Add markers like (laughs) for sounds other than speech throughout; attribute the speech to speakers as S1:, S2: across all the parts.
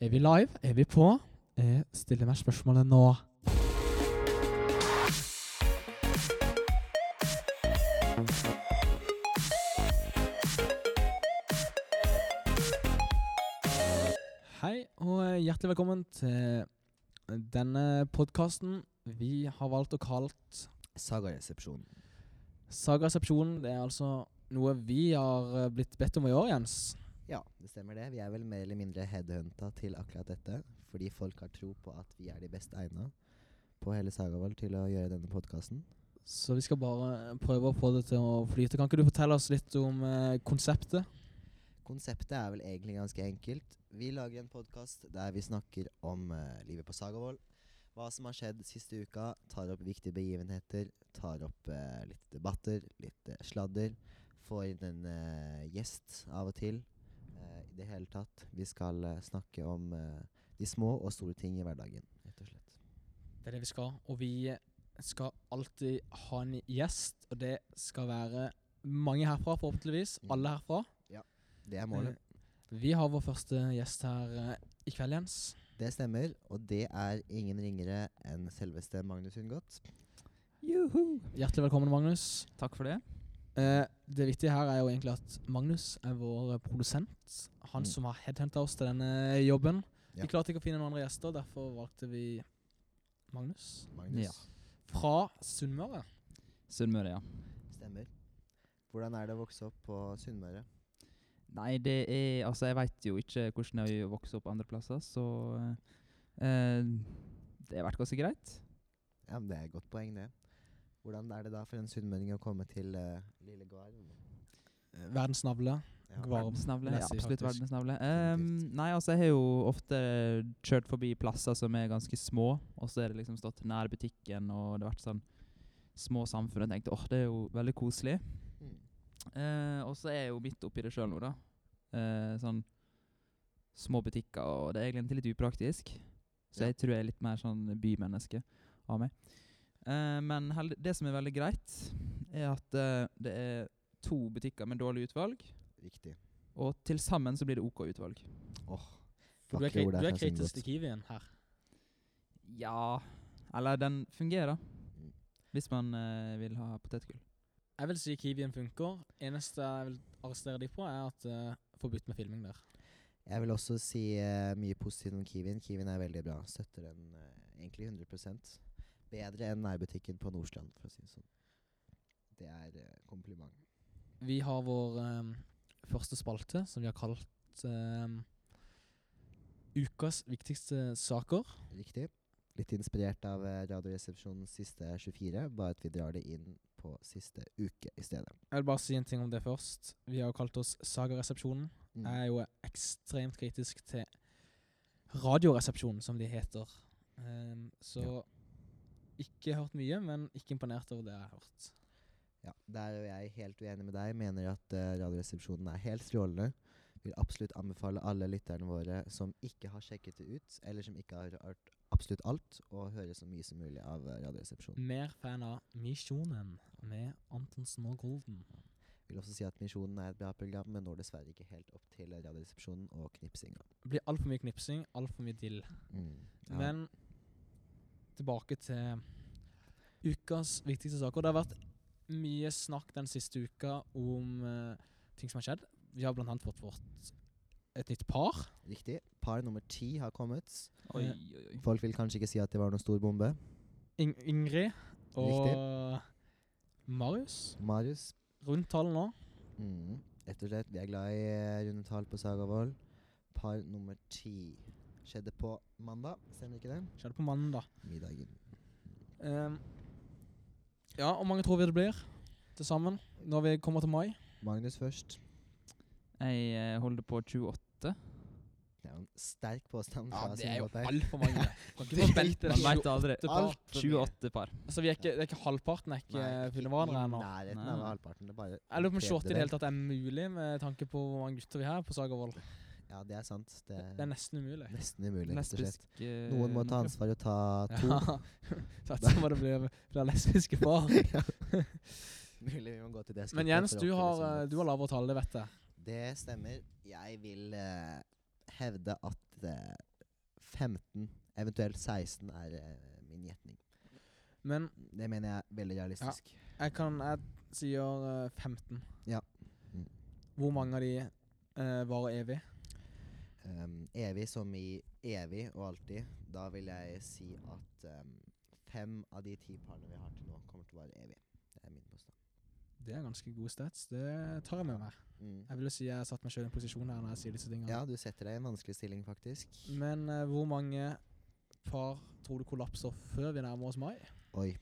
S1: Er vi live? Er vi på? Jeg stiller meg spørsmålet nå. Hei og eh, hjertelig velkommen til denne podkasten vi har valgt å kalt
S2: Sagaresepsjonen.
S1: Sagaresepsjonen. Det er altså noe vi har eh, blitt bedt om å gjøre, Jens.
S2: Ja, det stemmer det. Vi er vel mer eller mindre headhunta til akkurat dette. Fordi folk har tro på at vi er de best egna på hele Sagavoll til å gjøre denne podkasten.
S1: Så vi skal bare prøve å få det til å flyte. Kan ikke du fortelle oss litt om eh, konseptet?
S2: Konseptet er vel egentlig ganske enkelt. Vi lager en podkast der vi snakker om eh, livet på Sagavoll. Hva som har skjedd siste uka. Tar opp viktige begivenheter. Tar opp eh, litt debatter, litt eh, sladder. Får inn en eh, gjest av og til. Eh, I det hele tatt. Vi skal eh, snakke om eh, de små og store ting i hverdagen, rett og slett.
S1: Det er det vi skal. Og vi skal alltid ha en gjest, og det skal være mange herfra, forhåpentligvis.
S2: Mm.
S1: Alle herfra. Eh,
S2: Det er målet.
S1: Vi har vår første gjest her eh, i kveld, Jens.
S2: Det stemmer, og det er ingen ringere enn selveste Magnus Hundgodt.
S1: Hjertelig velkommen, Magnus.
S3: Takk for det.
S1: Eh, det viktige her er jo egentlig at Magnus er vår eh, produsent. Han
S2: Mm.
S1: som har headhenta oss til denne jobben.
S2: Ja.
S1: Vi klarte ikke å finne noen andre gjester, derfor valgte vi Magnus.
S2: Magnus.
S3: Ja.
S1: Fra Sunnmøre.
S3: Sunnmøre, ja.
S2: Stemmer. Hvordan er det å vokse opp på Sunnmøre?
S3: Nei, det er Altså, jeg veit jo ikke hvordan det er å vokse opp andre plasser, så eh, Det har vært ganske greit.
S2: Ja, men Det er et godt poeng, det. Hvordan er det da for en sunnmøring å komme til eh, lille Gard?
S1: Verdens navle.
S2: Ja.
S1: Eh, Gvarv.
S3: Verdensnavle. Ja,
S1: Massiv,
S3: absolutt
S1: faktisk.
S3: verdensnavle.
S2: Definitivt.
S3: Ehm, nei, altså, jeg har jo ofte kjørt forbi plasser som er ganske små, og så er det liksom stått nær butikken, og det har vært sånn små samfunn, og jeg tenkte åh, det er jo veldig koselig.
S2: Mm.
S3: Eh, og så er jeg jo midt oppi det sjøl nå, da. Eh, sånn små butikker, og det er egentlig litt upraktisk. Så
S2: Ja.
S3: jeg tror jeg er litt mer sånn bymenneske av meg. Eh, men held det som er veldig greit, er at eh, det er to butikker med dårlig utvalg,
S2: Riktig.
S3: og til sammen så blir det OK utvalg.
S1: For du er,
S2: Vakre
S1: kri-
S2: ord
S1: du
S2: er
S1: er
S2: fra
S1: kritisk
S2: Sunngodt.
S1: til Kiwien her.
S3: Ja Eller den fungerer,
S2: Mm.
S3: hvis man eh, vil ha potetgull.
S1: Jeg vil si Kiwien funker. Eneste jeg vil arrestere de på, er at uh, forbudt med filming der.
S2: Jeg vil også si eh, mye positivt om Kiwin. Kiwin er veldig bra. Støtter den eh, egentlig 100 Bedre enn nærbutikken på Nordstrand, for å si det sånn. Det er eh, kompliment.
S1: Vi har vår eh, første spalte, som vi har kalt eh, Ukas viktigste saker.
S2: Riktig. Litt inspirert av eh, Radioresepsjonens siste 24, bare at vi drar det inn på siste uke i stedet.
S1: Jeg vil bare si en ting om det først. Vi har jo kalt oss Sagaresepsjonen.
S2: Mm.
S1: Jeg er jo ekstremt kritisk til Radioresepsjonen, som de heter. Ehm, så ikke hørt mye, men ikke imponert over det jeg har hørt.
S2: Ja, der er jo jeg helt uenig med deg. Mener at eh, Radioresepsjonen er helt strålende. Vil absolutt anbefale alle lytterne våre som ikke har sjekket det ut, eller som ikke har hørt absolutt alt, å høre så mye som mulig av eh, Radioresepsjonen.
S1: Mer fan av Misjonen med Anton Snår Golden.
S2: Vil også si at Misjonen er et bra program, men når dessverre ikke helt opp til eh, Radioresepsjonen og knipsinga.
S1: Det blir altfor mye knipsing, altfor mye dill.
S2: Mm. Ja.
S1: Men tilbake til ukas viktigste saker. Det har vært mye snakk den siste uka om eh, ting som har skjedd. Vi har blant annet fått vårt et nytt par.
S2: Riktig. Par nummer ti har kommet.
S1: Oi,
S3: Oi, oi, oi.
S2: Folk vil kanskje ikke si at det var noen stor bombe.
S1: Ing Ingrid og Marius.
S2: Marius
S1: Rundt tallet nå.
S2: Mm. Rett og slett. Vi er glad i eh, runde tall på Sagavoll. Par nummer ti skjedde på mandag, stemmer ikke det?
S1: Skjedde på mandag.
S2: Middagen.
S1: Um, ja, og mange tror vi det blir til sammen når vi kommer til mai.
S2: Magnus først.
S3: Jeg eh, holder på 28.
S2: Det er jo en sterk påstand.
S1: Ja,
S2: fra
S1: det er jo
S2: Sundgodt her.
S1: altfor
S3: (laughs)
S1: mange. Kan ikke forvente
S3: Man veit
S1: 28
S3: aldri.
S1: par.
S2: Alt for mye.
S3: 28 par.
S1: Altså, vi er ikke, det er ikke halvparten, er ikke
S2: Nei,
S1: eh, fulle hverandre
S2: I
S1: ennå.
S2: nærheten
S3: Nei.
S2: av halvparten. Det er bare
S1: Jeg lurer på om
S2: en
S1: 28 i det
S2: tredjedel.
S1: hele tatt er mulig, med tanke på hvor mange gutter vi har på Sagervoll.
S2: Ja, det er sant. Det
S1: Det er
S2: er
S1: nesten umulig.
S2: nesten umulig, rett og slett.
S3: Lesbisk eh,
S2: Noen må ta ansvar og ta to.
S1: Ja. (laughs) Satser på det blir, blir lesbiske par.
S2: (laughs) Mulig vi må gå til det skrittet
S1: Men Jens,
S2: for å
S1: du
S2: oppfylle
S1: har, eh,
S2: Sundgodt.
S1: du har lavere tall, det vet jeg.
S2: Det stemmer. Jeg vil eh, hevde at eh, 15, eventuelt 16, er eh, min gjetning.
S1: Men
S2: Det mener jeg er veldig realistisk.
S1: jeg kan Jeg sier eh, 15.
S2: Ja. Mm.
S1: Hvor mange av de eh, varer evig?
S2: Ehm, evig som i evig og alltid. Da vil jeg si at ehm, fem av de ti parene vi har til nå, kommer til å være evig. Det er min påstand.
S1: Det er ganske gode stats. Det tar jeg med meg.
S2: Mm.
S1: Jeg vil jo si jeg har satt meg sjøl i en posisjon her når jeg sier disse tingene.
S2: Ja, du setter deg i en vanskelig stilling, faktisk.
S1: Men eh, hvor mange par tror du kollapser før vi nærmer oss mai?
S2: Oi.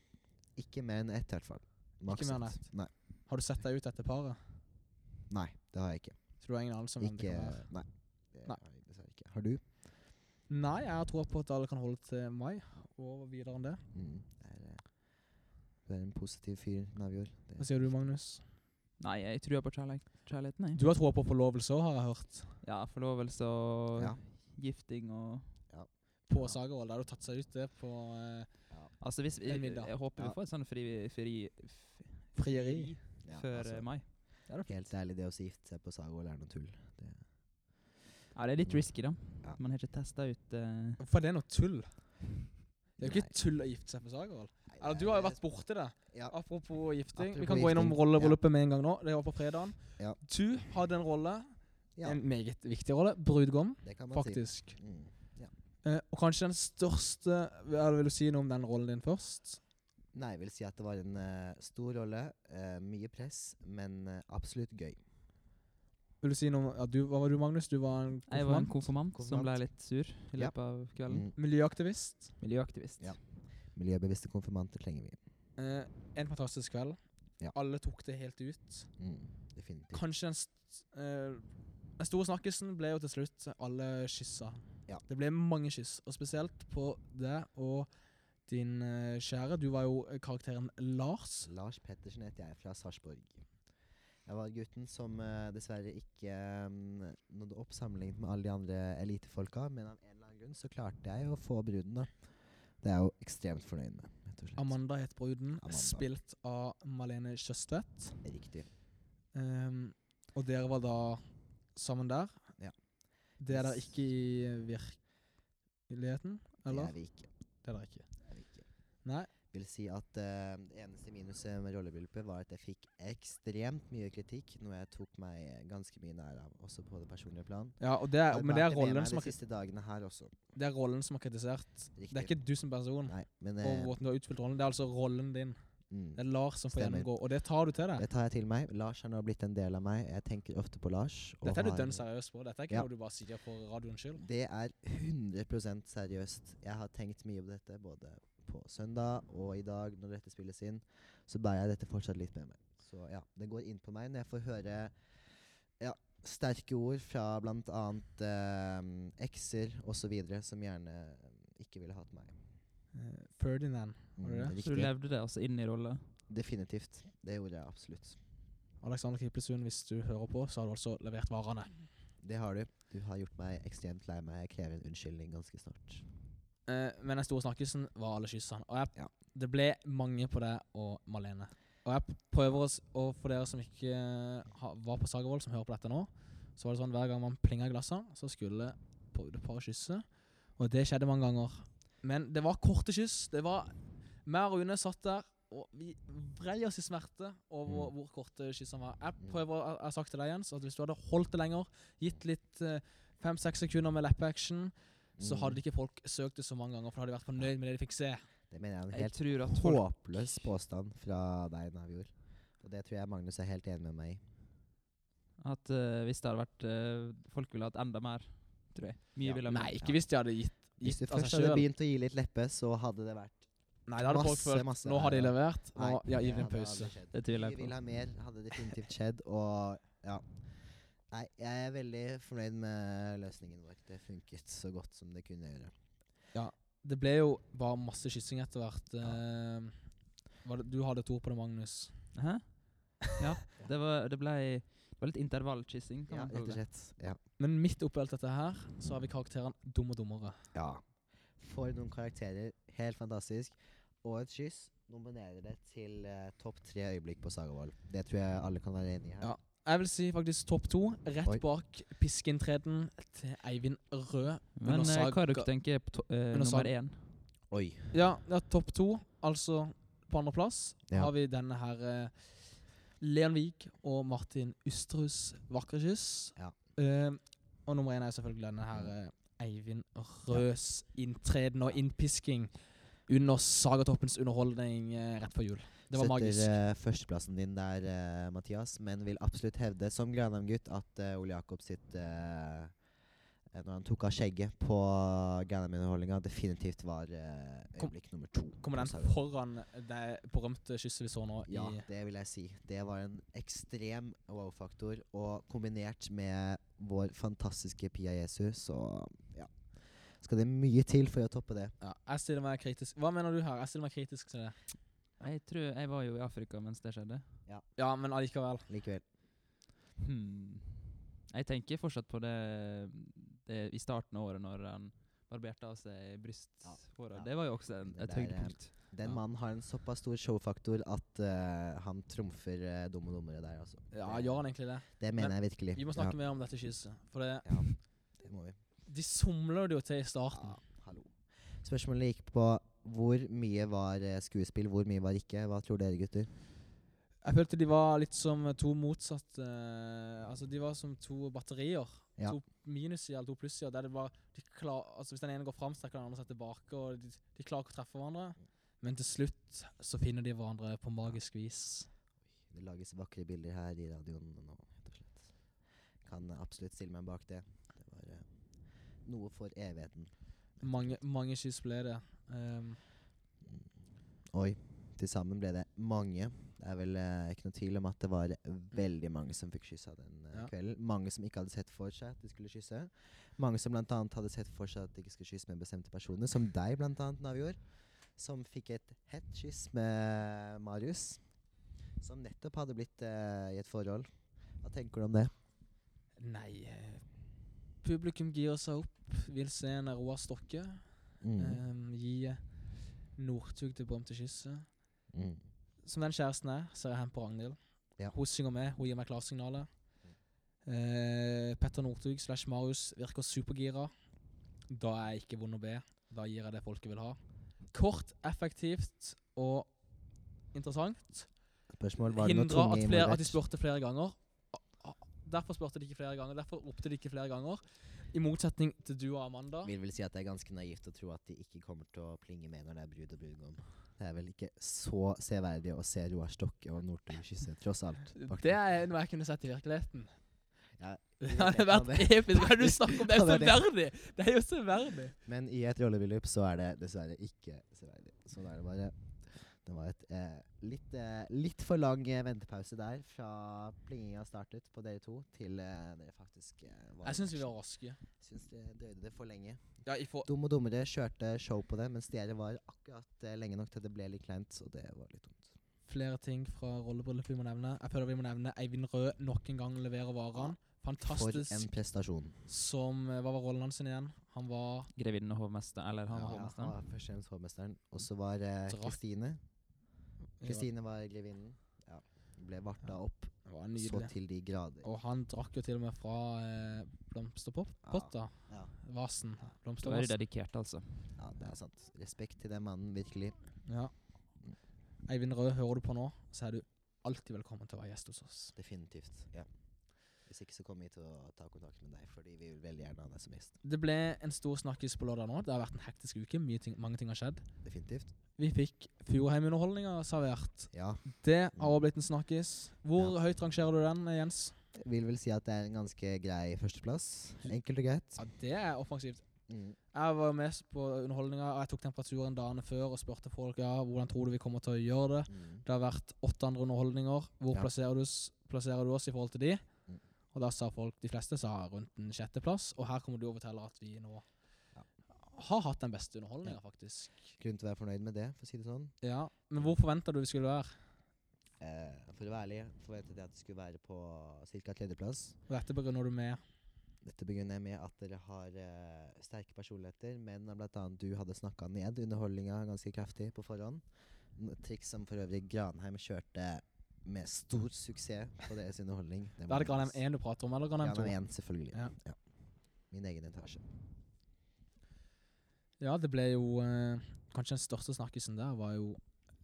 S2: Ikke mer enn ett, i hvert fall. Maks
S1: Ikke mer enn
S2: ett. Nei.
S1: Har du sett deg ut etter paret?
S2: Nei, det har jeg ikke.
S1: Så du har ingen anelse om hvem det
S2: Ikke
S1: kan være?
S2: Nei. Det
S1: Nei.
S2: har jeg dessverre ikke. Har du?
S1: Nei, jeg har troa på at alle kan holde til mai og videre enn det.
S2: Mm. Det, er, eh, du er en positiv fyr, Navjord. Det-
S1: Hva sier du, Magnus?
S3: Nei, jeg tror på kjærlighet, kjærligheten, jeg.
S1: Du har troa på forlovelse òg, har jeg hørt.
S3: Ja, forlovelse og
S2: Ja.
S3: gifting og
S1: På
S2: Ja.
S1: Sagervoll. Der har du tatt seg ut det på eh,
S3: Altså, hvis vi,
S1: En
S3: jeg,
S1: middag.
S3: håper
S2: Ja.
S3: vi får et sånn fri, fri, f-
S1: frieri.
S2: Ja,
S3: før
S2: altså,
S3: eh, mai.
S1: Det er da
S2: Helt ærlig, det å si gifte seg på Sagol er noe tull. Det,
S3: Ja, det er litt risky, da.
S2: Ja.
S3: Man har ikke testa ut eh,
S1: Hvorfor er det noe tull? Det er jo
S2: Nei.
S1: ikke tull å gifte seg på Sagervoll.
S2: Nei,
S1: Eller
S2: det
S1: du
S2: er-
S1: har jo vært Ah, borti det.
S2: Ja.
S1: Apropos gifting. vi
S2: Apropos
S1: kan gå innom
S2: gifting,
S1: rollebryllupet med en gang nå. Det var på fredagen.
S2: Ja.
S1: Du hadde en rolle,
S2: ja.
S1: en meget viktig rolle. Brudgom,
S2: Det kan man
S1: faktisk.
S2: si. Mm.
S1: Eh, og kanskje den største Hva vil du si noe om den rollen din først?
S2: Nei, jeg vil si at det var en eh, stor rolle. eh, mye press, men eh, absolutt gøy.
S1: Vil du si noe om ja, du, Hva var du, Magnus? Du var en
S3: Jeg var en
S1: konfirmant?
S3: konfirmant, som ble
S2: Konfirmant.
S3: litt sur i
S2: Ja.
S3: løpet av kvelden.
S2: Mm.
S1: Miljøaktivist.
S3: Miljøaktivist.
S2: Ja. Miljøbevisste konfirmanter trenger vi.
S1: Eh, en fantastisk kveld.
S2: Ja.
S1: Alle tok det helt ut.
S2: Mm. Definitivt.
S1: Kanskje den, st eh, den store snakkisen ble jo til slutt alle kyssa.
S2: Ja.
S1: Det ble mange kyss, og spesielt på deg og din eh, kjære. Du var jo eh, karakteren Lars.
S2: Lars Pettersen heter jeg, fra Sarpsborg. Jeg var gutten som eh, dessverre ikke mm, nådde opp sammenlignet med alle de andre elitefolka, men av en eller annen grunn så klarte jeg å få bruden, da. Det er jeg jo ekstremt fornøyd med, rett og slett.
S1: Amanda het bruden,
S2: Amanda.
S1: spilt av Malene Kjøstvedt.
S2: Riktig.
S1: Ehm, og dere var da sammen der?
S2: Ja.
S1: Det er dere
S2: Yes.
S1: ikke i virkeligheten, eller?
S2: Det er vi ikke.
S1: Det er dere ikke.
S2: Det er vi ikke.
S1: Nei.
S2: Vil si at eh, det eneste minuset med rollebryllupet var at jeg fikk ekstremt mye kritikk, noe jeg tok meg ganske mye nær av, også på det personlige plan.
S1: Ja, og det er,
S2: Og
S1: men det er,
S2: bærte med
S1: rollen
S2: meg
S1: som er,
S2: de siste dagene her også.
S1: kri- det er rollen som er kritisert.
S2: Riktig.
S1: Det er ikke du som person
S2: Nei, men
S1: og
S2: eh,
S1: hvordan du har utfylt rollen. Det er altså rollen din.
S2: mm.
S1: Det er Lars som får
S2: Stemmer.
S1: gjennomgå, og det tar du til deg.
S2: Det tar jeg til meg. Lars har nå blitt en del av meg. Jeg tenker ofte på Lars. og
S1: Dette er du
S2: har-
S1: dønn seriøs på. Dette er ikke
S2: Ja.
S1: noe du bare sier for radioens skyld.
S2: Det er 100 seriøst. Jeg har tenkt mye på dette både på søndag og i dag når dette spilles inn. Så bærer jeg dette fortsatt litt med meg. Så ja, det går inn på meg når jeg får høre ja, sterke ord fra bl.a. Eh, ekser osv. som gjerne eh, ikke ville hatt meg.
S1: Eh, Ferdinand, Var det
S2: det er
S3: Så du
S2: riktig.
S3: levde det også inn i rolla?
S2: Definitivt. Det gjorde jeg absolutt.
S1: Alexander Kiplesund, hvis du hører på, så har du altså levert varene.
S2: Det har du. Du har gjort meg ekstremt lei meg. Jeg krever en unnskyldning ganske snart.
S1: Eh, men den store snakkisen var alle kyssene. Og jeg,
S2: Ja.
S1: det ble mange på det og Malene. Og jeg prøver å s- Og for dere som ikke eh, ha, var på Sagervoll, som hører på dette nå, så var det sånn hver gang man plinga i glassene, så skulle brudeparet kysse. Og det skjedde mange ganger. Men det var korte kyss. Det var Meg og Rune satt der, og vi vrei oss i smerte over
S2: Mm.
S1: hvor korte kyssene var. Jeg
S2: Mm.
S1: prøver, jeg jeg har sagt til deg, Jens, at hvis du hadde holdt det lenger, gitt litt fem-seks sekunder med leppeaction, så
S2: Mm.
S1: hadde ikke folk søkt det så mange ganger, for da hadde de vært fornøyd med det de fikk se.
S2: Det mener jeg er en
S3: Jeg
S2: helt
S3: tror at folk
S2: håpløs påstand fra deg, Navjord. Og det tror jeg Magnus er helt enig med meg i.
S3: At eh, hvis det hadde vært eh, Folk ville hatt enda mer, tror jeg. Mye
S2: Ja.
S3: ville ha
S1: Nei, ikke hvis de hadde gitt,
S2: Hvis du
S1: gitt av
S2: først
S1: seg
S2: hadde
S1: sjøl.
S2: begynt å gi litt leppe, så hadde det vært
S1: Nei, da hadde folk
S2: masse,
S1: følt
S2: masse-
S1: Nå har de
S2: Nei,
S1: levert. Nå,
S2: Nei,
S1: ja,
S2: det
S1: gi dem en
S2: hadde
S1: pause.
S2: aldri skjedd.
S3: Det
S2: Vi
S3: tviler jeg
S2: vil
S3: på.
S2: ha mer, hadde definitivt skjedd. Og ja. Nei, jeg er veldig fornøyd med løsningen vår. Det funket så godt som det kunne gjøre.
S1: Det ble jo bare masse kyssing etter hvert. eh, var det, du hadde et ord på det, Magnus.
S3: Hæ? Ja.
S2: (laughs)
S3: Det var, det ble, det var litt intervallkyssing, kan
S2: Ja,
S3: man
S2: rett og
S3: kalle det.
S2: slett. Ja.
S1: Men midt oppi alt dette her, så har vi karakteren Dum og dummere.
S2: ja. For noen karakterer. Helt fantastisk. Og et kyss nominerer det til eh, topp tre øyeblikk på Sagavoll. Det tror jeg alle kan være enig i her.
S1: Ja. Jeg vil si faktisk topp to. Rett
S2: Oi.
S1: bak piskeinntreden til Eivind Rød.
S3: Men
S1: Under
S3: eh, hva er det
S1: saga-
S3: dere tenker på to, eh,
S1: under
S2: altså-
S3: nummer
S1: saga-
S3: én?
S2: Oi.
S1: Ja, ja topp to. Altså på andreplass
S2: Ja.
S1: har vi denne her eh, Leon Wiig og Martin Usterhus 'Vakre kyss'.
S2: Ja.
S1: Eh, og nummer én er selvfølgelig denne her eh, Eivind Røs inntreden og innpisking under Sagatoppens underholdning eh, rett før jul. Det var
S2: Setter
S1: magisk.
S2: eh, førsteplassen din der, eh, Mathias, men vil absolutt hevde, som Granheim-gutt, at eh, Ole Jakob sitt eh, eh, Når han tok av skjegget på Granheim-underholdninga, definitivt var eh,
S1: Kom-
S2: øyeblikk nummer to.
S1: Kommer
S2: på
S1: den
S2: Sauer.
S1: foran det berømte kysset vi så nå
S2: Ja,
S1: i
S2: det vil jeg si. Det var en ekstrem wow-faktor. Og kombinert med vår fantastiske Pia Jesu, så ja Skal det mye til for å toppe det.
S1: ja, Jeg stiller meg kritisk Hva mener du her? Jeg stiller meg kritisk til det.
S3: Jeg tror jeg var jo i Afrika mens det skjedde.
S1: Ja, men allikevel.
S2: Likevel.
S3: Hmm. Jeg tenker fortsatt på det, det i starten av året når han barberte av seg brysthåret.
S2: Ja.
S3: Det var jo også en,
S2: Det
S3: et
S2: der, eh,
S3: høydepunkt.
S2: Den
S3: Ja.
S2: mannen har en såpass stor showfaktor at eh, han trumfer eh, dumme dommere der, altså.
S1: Ja,
S2: Det-
S1: Gjør han egentlig det?
S2: Det mener jeg virkelig.
S1: Vi må snakke mer om dette kysset. For det,
S2: Ja, det må vi. Ah,
S1: de somler det jo til i starten.
S2: hallo. Spørsmålet gikk på hvor mye var eh, skuespill, hvor mye var ikke. Hva tror dere, gutter?
S1: Jeg følte de var litt som to motsatte eh, Altså, de var som to batterier.
S2: Ja.
S1: To minussider eller to plussider. Der det var de klar, altså Hvis den ene går fram, så trekker den andre seg tilbake, og de, de klarer ikke å treffe hverandre. Men til slutt så finner de hverandre på magisk vis.
S2: Det lages vakre bilder her i radioen nå, rett og slett. Kan absolutt stille meg bak det. Det var eh, noe for evigheten.
S1: Mange, mange kyss ble det. Ehm,
S2: Oi. Til sammen ble det mange. Det er vel eh, ikke noe tvil om at det var veldig mange som fikk kyssa den eh,
S1: Ja.
S2: kvelden. Mange som ikke hadde sett for seg at de skulle kysse. Mange som blant annet hadde sett for seg at de ikke skulle kysse med bestemte personer, som deg blant annet, Navjord. Som fikk et hett kyss med Marius, som nettopp hadde blitt eh, i et forhold. Hva tenker du om det?
S1: nei eh, Publikum girer seg opp, vil se en Roar Stokke.
S2: Mm.
S1: ehm, gi Northug det berømte kysset.
S2: Mm.
S1: som den kjæresten er, ser jeg hen på Ragnhild.
S2: Ja. Mm.
S1: Hun synger med, hun gir meg klarsignalet. Eh, Petter Northug slash Marius virker supergira. Da er jeg ikke vond å be. Da gir jeg det folket vil ha. Kort, effektivt og interessant.
S2: Spørsmål, var det noe
S1: Hindra
S2: tunge
S1: at, flere, at
S2: involvert?
S1: de spurte flere ganger. Ah, ah, Derfor spurte de ikke flere ganger. Derfor ropte de ikke flere ganger. I motsetning til du og Amanda.
S2: Vil vel si at det er ganske naivt å tro at de ikke kommer til å plinge med når det er brud og brudgom. Det er vel ikke så severdig å se Roar Stokke og Northug kysse, tross alt.
S1: Det er noe jeg kunne sett i virkeligheten. (laughs)
S2: Ja,
S1: det hadde vært episk. Hva er
S2: (laughs)
S1: det du snakker om? Det er jo
S2: Ja, det er
S1: severdig! Det er jo severdig.
S2: Men i et rollebryllup så er det dessverre ikke severdig. Sånn er det bare. Det var et eh, litt, eh, litt for lang eh, ventepause der fra plinginga startet på dere to, til eh, dere faktisk eh, var
S1: Jeg syns vi var raske.
S2: Syns dere drøyde det for lenge.
S1: Ja, i for
S2: Dum og dummere kjørte show på det, mens dere var akkurat eh, lenge nok til at det ble litt kleint, så det var litt dumt.
S1: flere ting fra rollebryllup vi må nevne. Jeg føler vi må nevne Eivind Rød nok en gang leverer varene.
S2: For en
S1: Fantastisk.
S2: prestasjon.
S1: Som eh, Hva var rollen hans igjen? Han var
S3: Grevinnen og hovmesteren. Eller han
S1: Ja,
S3: var
S2: Ja,
S3: hovmesteren.
S2: han var først og fremst hovmesteren. Og så var eh,
S1: Drakk.
S2: Kristine.
S1: ja,
S2: Kristine var grevinnen. Ja. Ble varta
S1: Ja.
S2: opp
S1: det var
S2: så
S1: nydelig.
S2: til de grader.
S1: Og han drakk jo til og med fra eh, blomsterpotta.
S2: Ja.
S1: Vasen.
S3: Da er de
S1: Blomstervasen.
S3: dedikert, altså.
S2: Ja, det er sant. Respekt til den mannen, virkelig.
S1: Ja. Eivind Rød, hører du på nå, så er du alltid velkommen til å være gjest hos oss.
S2: Definitivt. Ja. Hvis ikke så kommer vi til å ta kontakt med deg, fordi vi vil veldig gjerne ha deg som gjest.
S1: Det ble en stor snakkis på lørdag nå. Det har vært en hektisk uke. Mye ting, mange ting har skjedd.
S2: Definitivt.
S1: Vi fikk Furuheim-underholdninga servert.
S2: Ja.
S1: Det har også blitt en snakkis. Hvor høyt rangerer du den, Jens?
S2: Vil vel si at det er en ganske grei førsteplass. Enkelt og greit.
S1: Ja, det er offensivt.
S2: Mm.
S1: Jeg var med på underholdninga, og jeg tok temperaturen dagene før og spurte folk ja, hvordan tror du vi kommer til å gjøre det.
S2: Mm.
S1: Det har vært åtte andre underholdninger. Hvor
S2: Ja.
S1: plasserer, du, s- plasserer du oss i forhold til de?
S2: Mm.
S1: Og da sa folk, de fleste sa rundt en sjetteplass, og her kommer du og forteller at vi nå
S2: Ja.
S1: har hatt den beste underholdninga, faktisk.
S2: Grunn til å være fornøyd med det, for å si det sånn.
S1: Ja, Men hvor forventa du vi skulle være?
S2: Eh, for å være ærlig forventet jeg at det skulle være på ca. tredjeplass.
S1: Og dette begrunner du med
S2: Dette begynner jeg med at dere har eh, sterke personligheter, men bl.a. du hadde snakka ned underholdninga ganske kraftig på forhånd. N- Triks som for øvrig Granheim kjørte med stor suksess på deres underholdning. Det
S1: Hva er det
S2: må nevnes.
S1: Granheim 1 du prater om, eller Granheim 2?
S2: Granheim 1, selvfølgelig.
S1: Ja.
S2: Ja. Min egen etasje.
S1: Ja, det ble jo eh, Kanskje den største snakkisen der var jo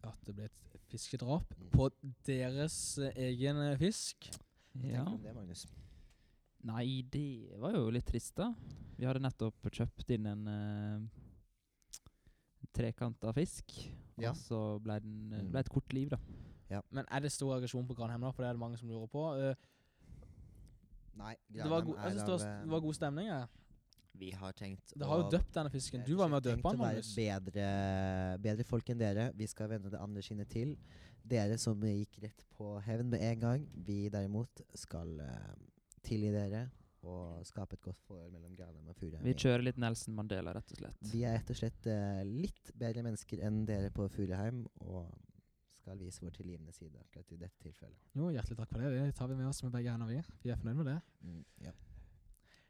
S1: at det ble et fiskedrap
S2: Mm.
S1: på deres eh, egen eh, fisk.
S2: Hva
S3: Ja.
S2: tenker du om det, Magnus?
S3: Nei, det var jo litt trist, da. Vi hadde nettopp kjøpt inn en uh, trekanta fisk.
S2: Ja.
S3: Og så ble den eh,
S2: Mm.
S3: ble et kort liv, da.
S1: Men er det stor aggresjon på Granheim nå? For det er det mange som lurer på. Eh,
S2: Nei,
S1: det, var
S2: Granheim
S1: go- jeg
S2: er
S1: synes det, var,
S2: av, eh,
S1: det var god stemning. Ja.
S2: Vi har tenkt
S1: Det har jo
S2: å-
S1: døpt denne fisken. Du var med å døpe den, Magnus.
S2: Eh, Vi har tenkt å være bedre, bedre folk enn dere. Vi skal vende det andre kinnet til. Dere som gikk rett på hevn med en gang. Vi derimot skal eh, tilgi dere og skape et godt forhold mellom Granheim og Furuheim.
S3: Vi kjører litt Nelson Mandela, rett og slett.
S2: Vi er rett og slett eh, litt bedre mennesker enn dere på Furuheim, og skal vise vår tilgivende side akkurat i dette tilfellet.
S1: Jo, hjertelig takk for det. Det tar vi med oss med begge hender, vi. Vi er fornøyd med det.
S2: Mm, ja.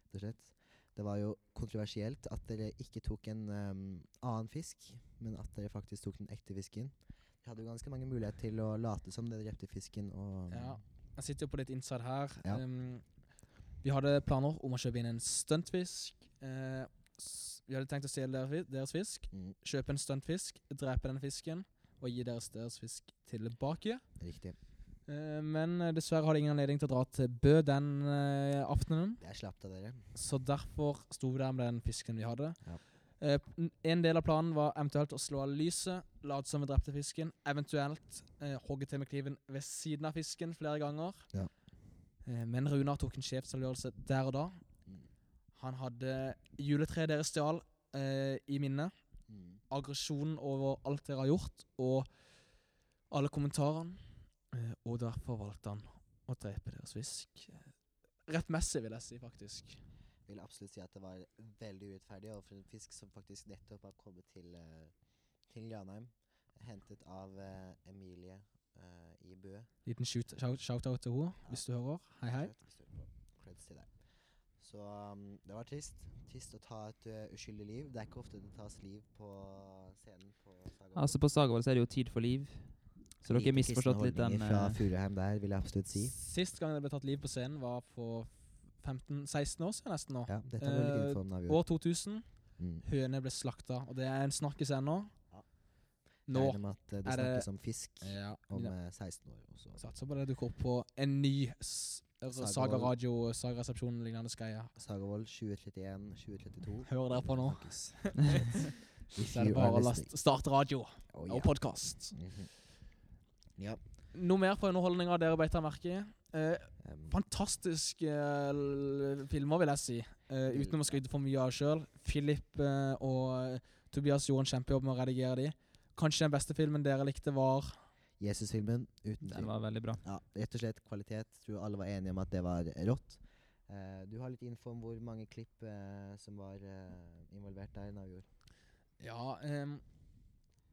S2: Rett og slett. Det var jo kontroversielt at dere ikke tok en ehm, annen fisk, men at dere faktisk tok den ekte fisken. Dere hadde jo ganske mange muligheter til å late som dere drepte fisken og
S1: Ja. Jeg sitter jo på litt inside her.
S2: Ja.
S1: Um, vi hadde planer om å kjøpe inn en stuntfisk. Eh, s- vi hadde tenkt å stjele der fi- deres fisk,
S2: Mm,
S1: kjøpe en stuntfisk, drepe den fisken og gi deres deres fisk tilbake.
S2: Riktig.
S1: Eh, men eh, dessverre hadde jeg ingen anledning til å dra til Bø den eh, aftenen,
S2: Det er slapt av dere.
S1: så derfor sto vi der med den fisken vi hadde.
S2: Ja.
S1: Eh, n- en del av planen var eventuelt å slå av lyset, late som vi drepte fisken, eventuelt eh, hogge til med kniven ved siden av fisken flere ganger.
S2: Ja.
S1: Eh, men Runar tok en sjefsavgjørelse der og da.
S2: Mm.
S1: Han hadde juletreet deres stjal eh, i minne.
S2: Mm.
S1: Aggresjonen over alt dere har gjort, og alle kommentarene. Eh, og derfor valgte han å drepe deres fisk. Rettmessig, vil jeg si, faktisk.
S2: Vil absolutt si at det var veldig urettferdig overfor en fisk som faktisk nettopp har kommet til, eh, til Granheim. Hentet av eh, Emilie eh, i Bø.
S1: Liten shoot- shout- shout-out til henne, hvis du hører. Hei, hei.
S2: Rett og slett på. Creds til deg. Så um, det var trist. Trist å ta et ø, uskyldig liv. Det er ikke ofte det tas liv på scenen på Saga.
S3: Altså På Sagavold så er det jo tid for liv. Så dere har misforstått litt den
S2: Fra
S3: eh,
S2: Furuheim der, vil jeg absolutt si.
S1: Sist gang det ble tatt liv på scenen, var for 15-16 år siden nesten nå.
S2: Ja, dette var litt
S1: Eh,
S2: info om da vi gjorde.
S1: År 2000.
S2: Mm.
S1: Høne ble slakta, og det er en snakkis ennå.
S2: Ja.
S1: Nå.
S2: Regner med at ø, det
S1: er det-
S2: snakkes om fisk
S1: Ja,
S2: om ø, 16 år også.
S1: Satser på det dukker opp på en ny s- altså
S2: Saga
S1: Saga
S2: World.
S1: Radio, Saga Resepsjon lignende greie.
S2: Sagavold 2031, 2032.
S1: Hører dere på nå?
S2: Snakkes. If
S1: Så er det
S2: you are
S1: bare å
S2: listening.
S1: last- starte radio
S2: Oh,
S1: og podkast.
S2: ja. Mhm. Ja.
S1: Noe mer på underholdninga dere beit dere merke i? Eh,
S2: em,
S1: fantastiske eh, l- filmer, vil jeg si. Eh, uten å skryte for mye av sjøl. Philip eh, og Tobias gjorde en kjempejobb med å redigere de. Kanskje den beste filmen dere likte, var
S2: Jesus-filmen uten tvil.
S3: Den var veldig bra.
S2: Ja, rett og slett kvalitet. Tror alle var enige om at det var rått. Eh, du har litt info om hvor mange klipp eh, som var eh, involvert der? Navjord.
S1: Ja ehm,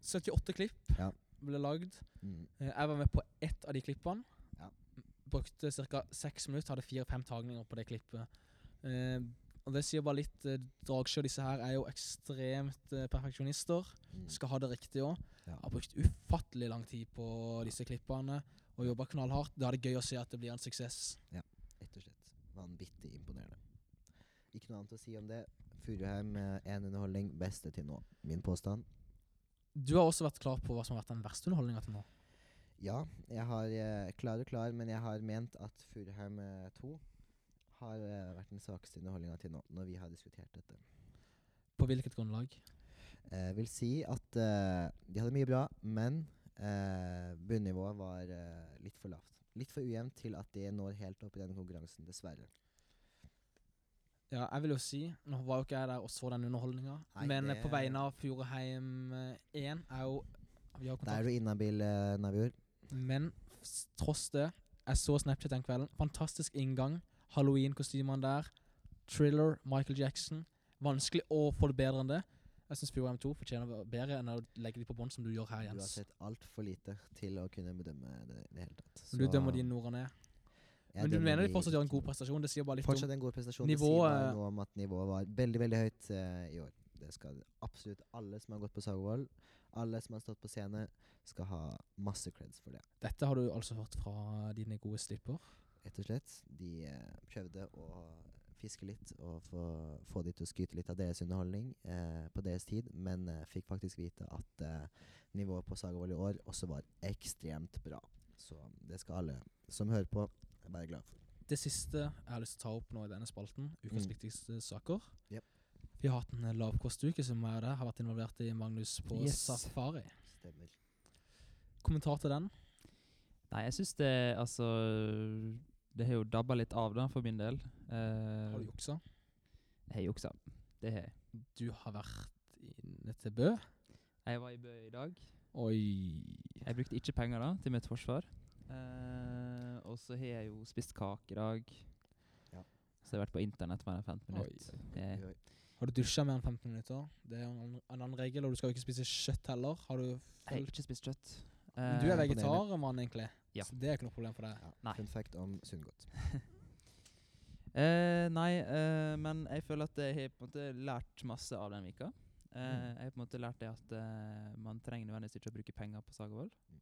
S1: 78 klipp
S2: Ja.
S1: ble lagd.
S2: Mm.
S1: Eh, Jeg var med på ett av de klippene.
S2: Ja.
S1: Brukte ca. seks minutter, hadde fire-fem tagninger på det klippet. Eh, og Det sier bare litt. eh, Dragsjø og disse her er jo ekstremt eh, perfeksjonister.
S2: Mm.
S1: Skal ha det riktig òg.
S2: Ja.
S1: Har brukt ufattelig lang tid på disse klippene og jobba knallhardt. Da er det gøy å se at det blir en suksess.
S2: Rett og slett. Vanvittig imponerende. Ikke noe annet å si om det. Furuheim eh, én underholdning, beste til nå. Min påstand.
S1: Du har også vært klar på hva som har vært den verste underholdninga til nå.
S2: Ja, jeg har eh, klar og klar, men jeg har ment at Furuheim eh, 2 har eh, vært den svakeste underholdninga til nå, når vi har diskutert dette.
S1: På hvilket grunnlag?
S2: Eh, vil si at eh, de hadde mye bra, men eh, bunnivået var eh, litt for lavt. Litt for ujevnt til at de når helt opp i den konkurransen, dessverre.
S1: Ja, jeg vil jo si Nå var jo ikke jeg der og så den underholdninga,
S2: Nei,
S1: men eh,
S2: det-
S1: på vegne av Furuheim eh, 1 er jo Vi har
S2: Da er
S1: kontakt.
S2: du inhabil, eh, Navjord.
S1: Men s- tross det, jeg så Snapchat den kvelden. Fantastisk inngang. Halloween-kostymene der. Thriller, Michael Jackson. Vanskelig å få det bedre enn det. Jeg syns Furuheim 2 fortjener å være bedre enn å legge de på bånn, som du gjør her,
S2: Du har
S1: Jens.
S2: sett altfor lite til å kunne bedømme det i det hele tatt.
S1: Du dømmer de nord og ned. Men du mener de fortsatt gjør en god prestasjon? Det sier bare litt om
S2: Fortsatt en god prestasjon. det sier
S1: Nivået-
S2: bare noe om at nivået var veldig, veldig høyt eh, i år. Det skal absolutt alle som har gått på Sagovold, alle som har stått på scene, skal ha masse creds for det.
S1: Dette har du altså hørt fra dine gode slipper.
S2: Rett og slett. De eh, prøvde å fiske litt og få, få de til å skryte litt av deres underholdning eh, på deres tid, men eh, fikk faktisk vite at eh, nivået på Sagovold i år også var ekstremt bra. Så mm, det skal alle som hører på, være glad for.
S1: Det siste jeg har lyst til å ta opp nå i denne spalten, ukas
S2: Mm.
S1: viktigste saker.
S2: Yep.
S1: Vi har hatt en eh, lavkostuke som jeg og deg har vært involvert i, Magnus, på
S3: Yes.
S1: safari.
S2: Stemmer.
S1: Kommentar til den?
S3: Nei, jeg syns det Altså Det har jo dabba litt av, da, for min del. Eh,
S1: Har du juksa?
S3: Jeg har juksa. Det har jeg.
S1: Du har vært inne til Bø.
S3: Jeg var i Bø i dag.
S1: Oi.
S3: Jeg brukte ikke penger da, til mitt forsvar. Eh, og så har jeg jo spist kake i dag.
S2: Ja.
S3: Så jeg har vært på internett mer enn 15
S1: Oi,
S3: minutter. Jeg,
S2: Oi,
S1: Har du dusja mer enn 15 minutter? Det er en annen- en annen regel, og du skal jo ikke spise kjøtt heller. Har du
S3: jeg har
S1: fulgt
S3: ikke spist kjøtt.
S1: Men Du er
S3: Eh,
S1: vegetarmann, egentlig.
S3: Ja.
S1: Så det er ikke noe problem for deg.
S2: Ja.
S3: Nei.
S2: Fun fact om Sundgodt.
S3: Eh, nei, eh, men jeg føler at jeg har på en måte lært masse av den vika. Eh,
S2: Mm.
S3: Jeg har på en måte lært det at eh, man trenger nødvendigvis ikke å bruke penger på Sagavold.
S2: Mm.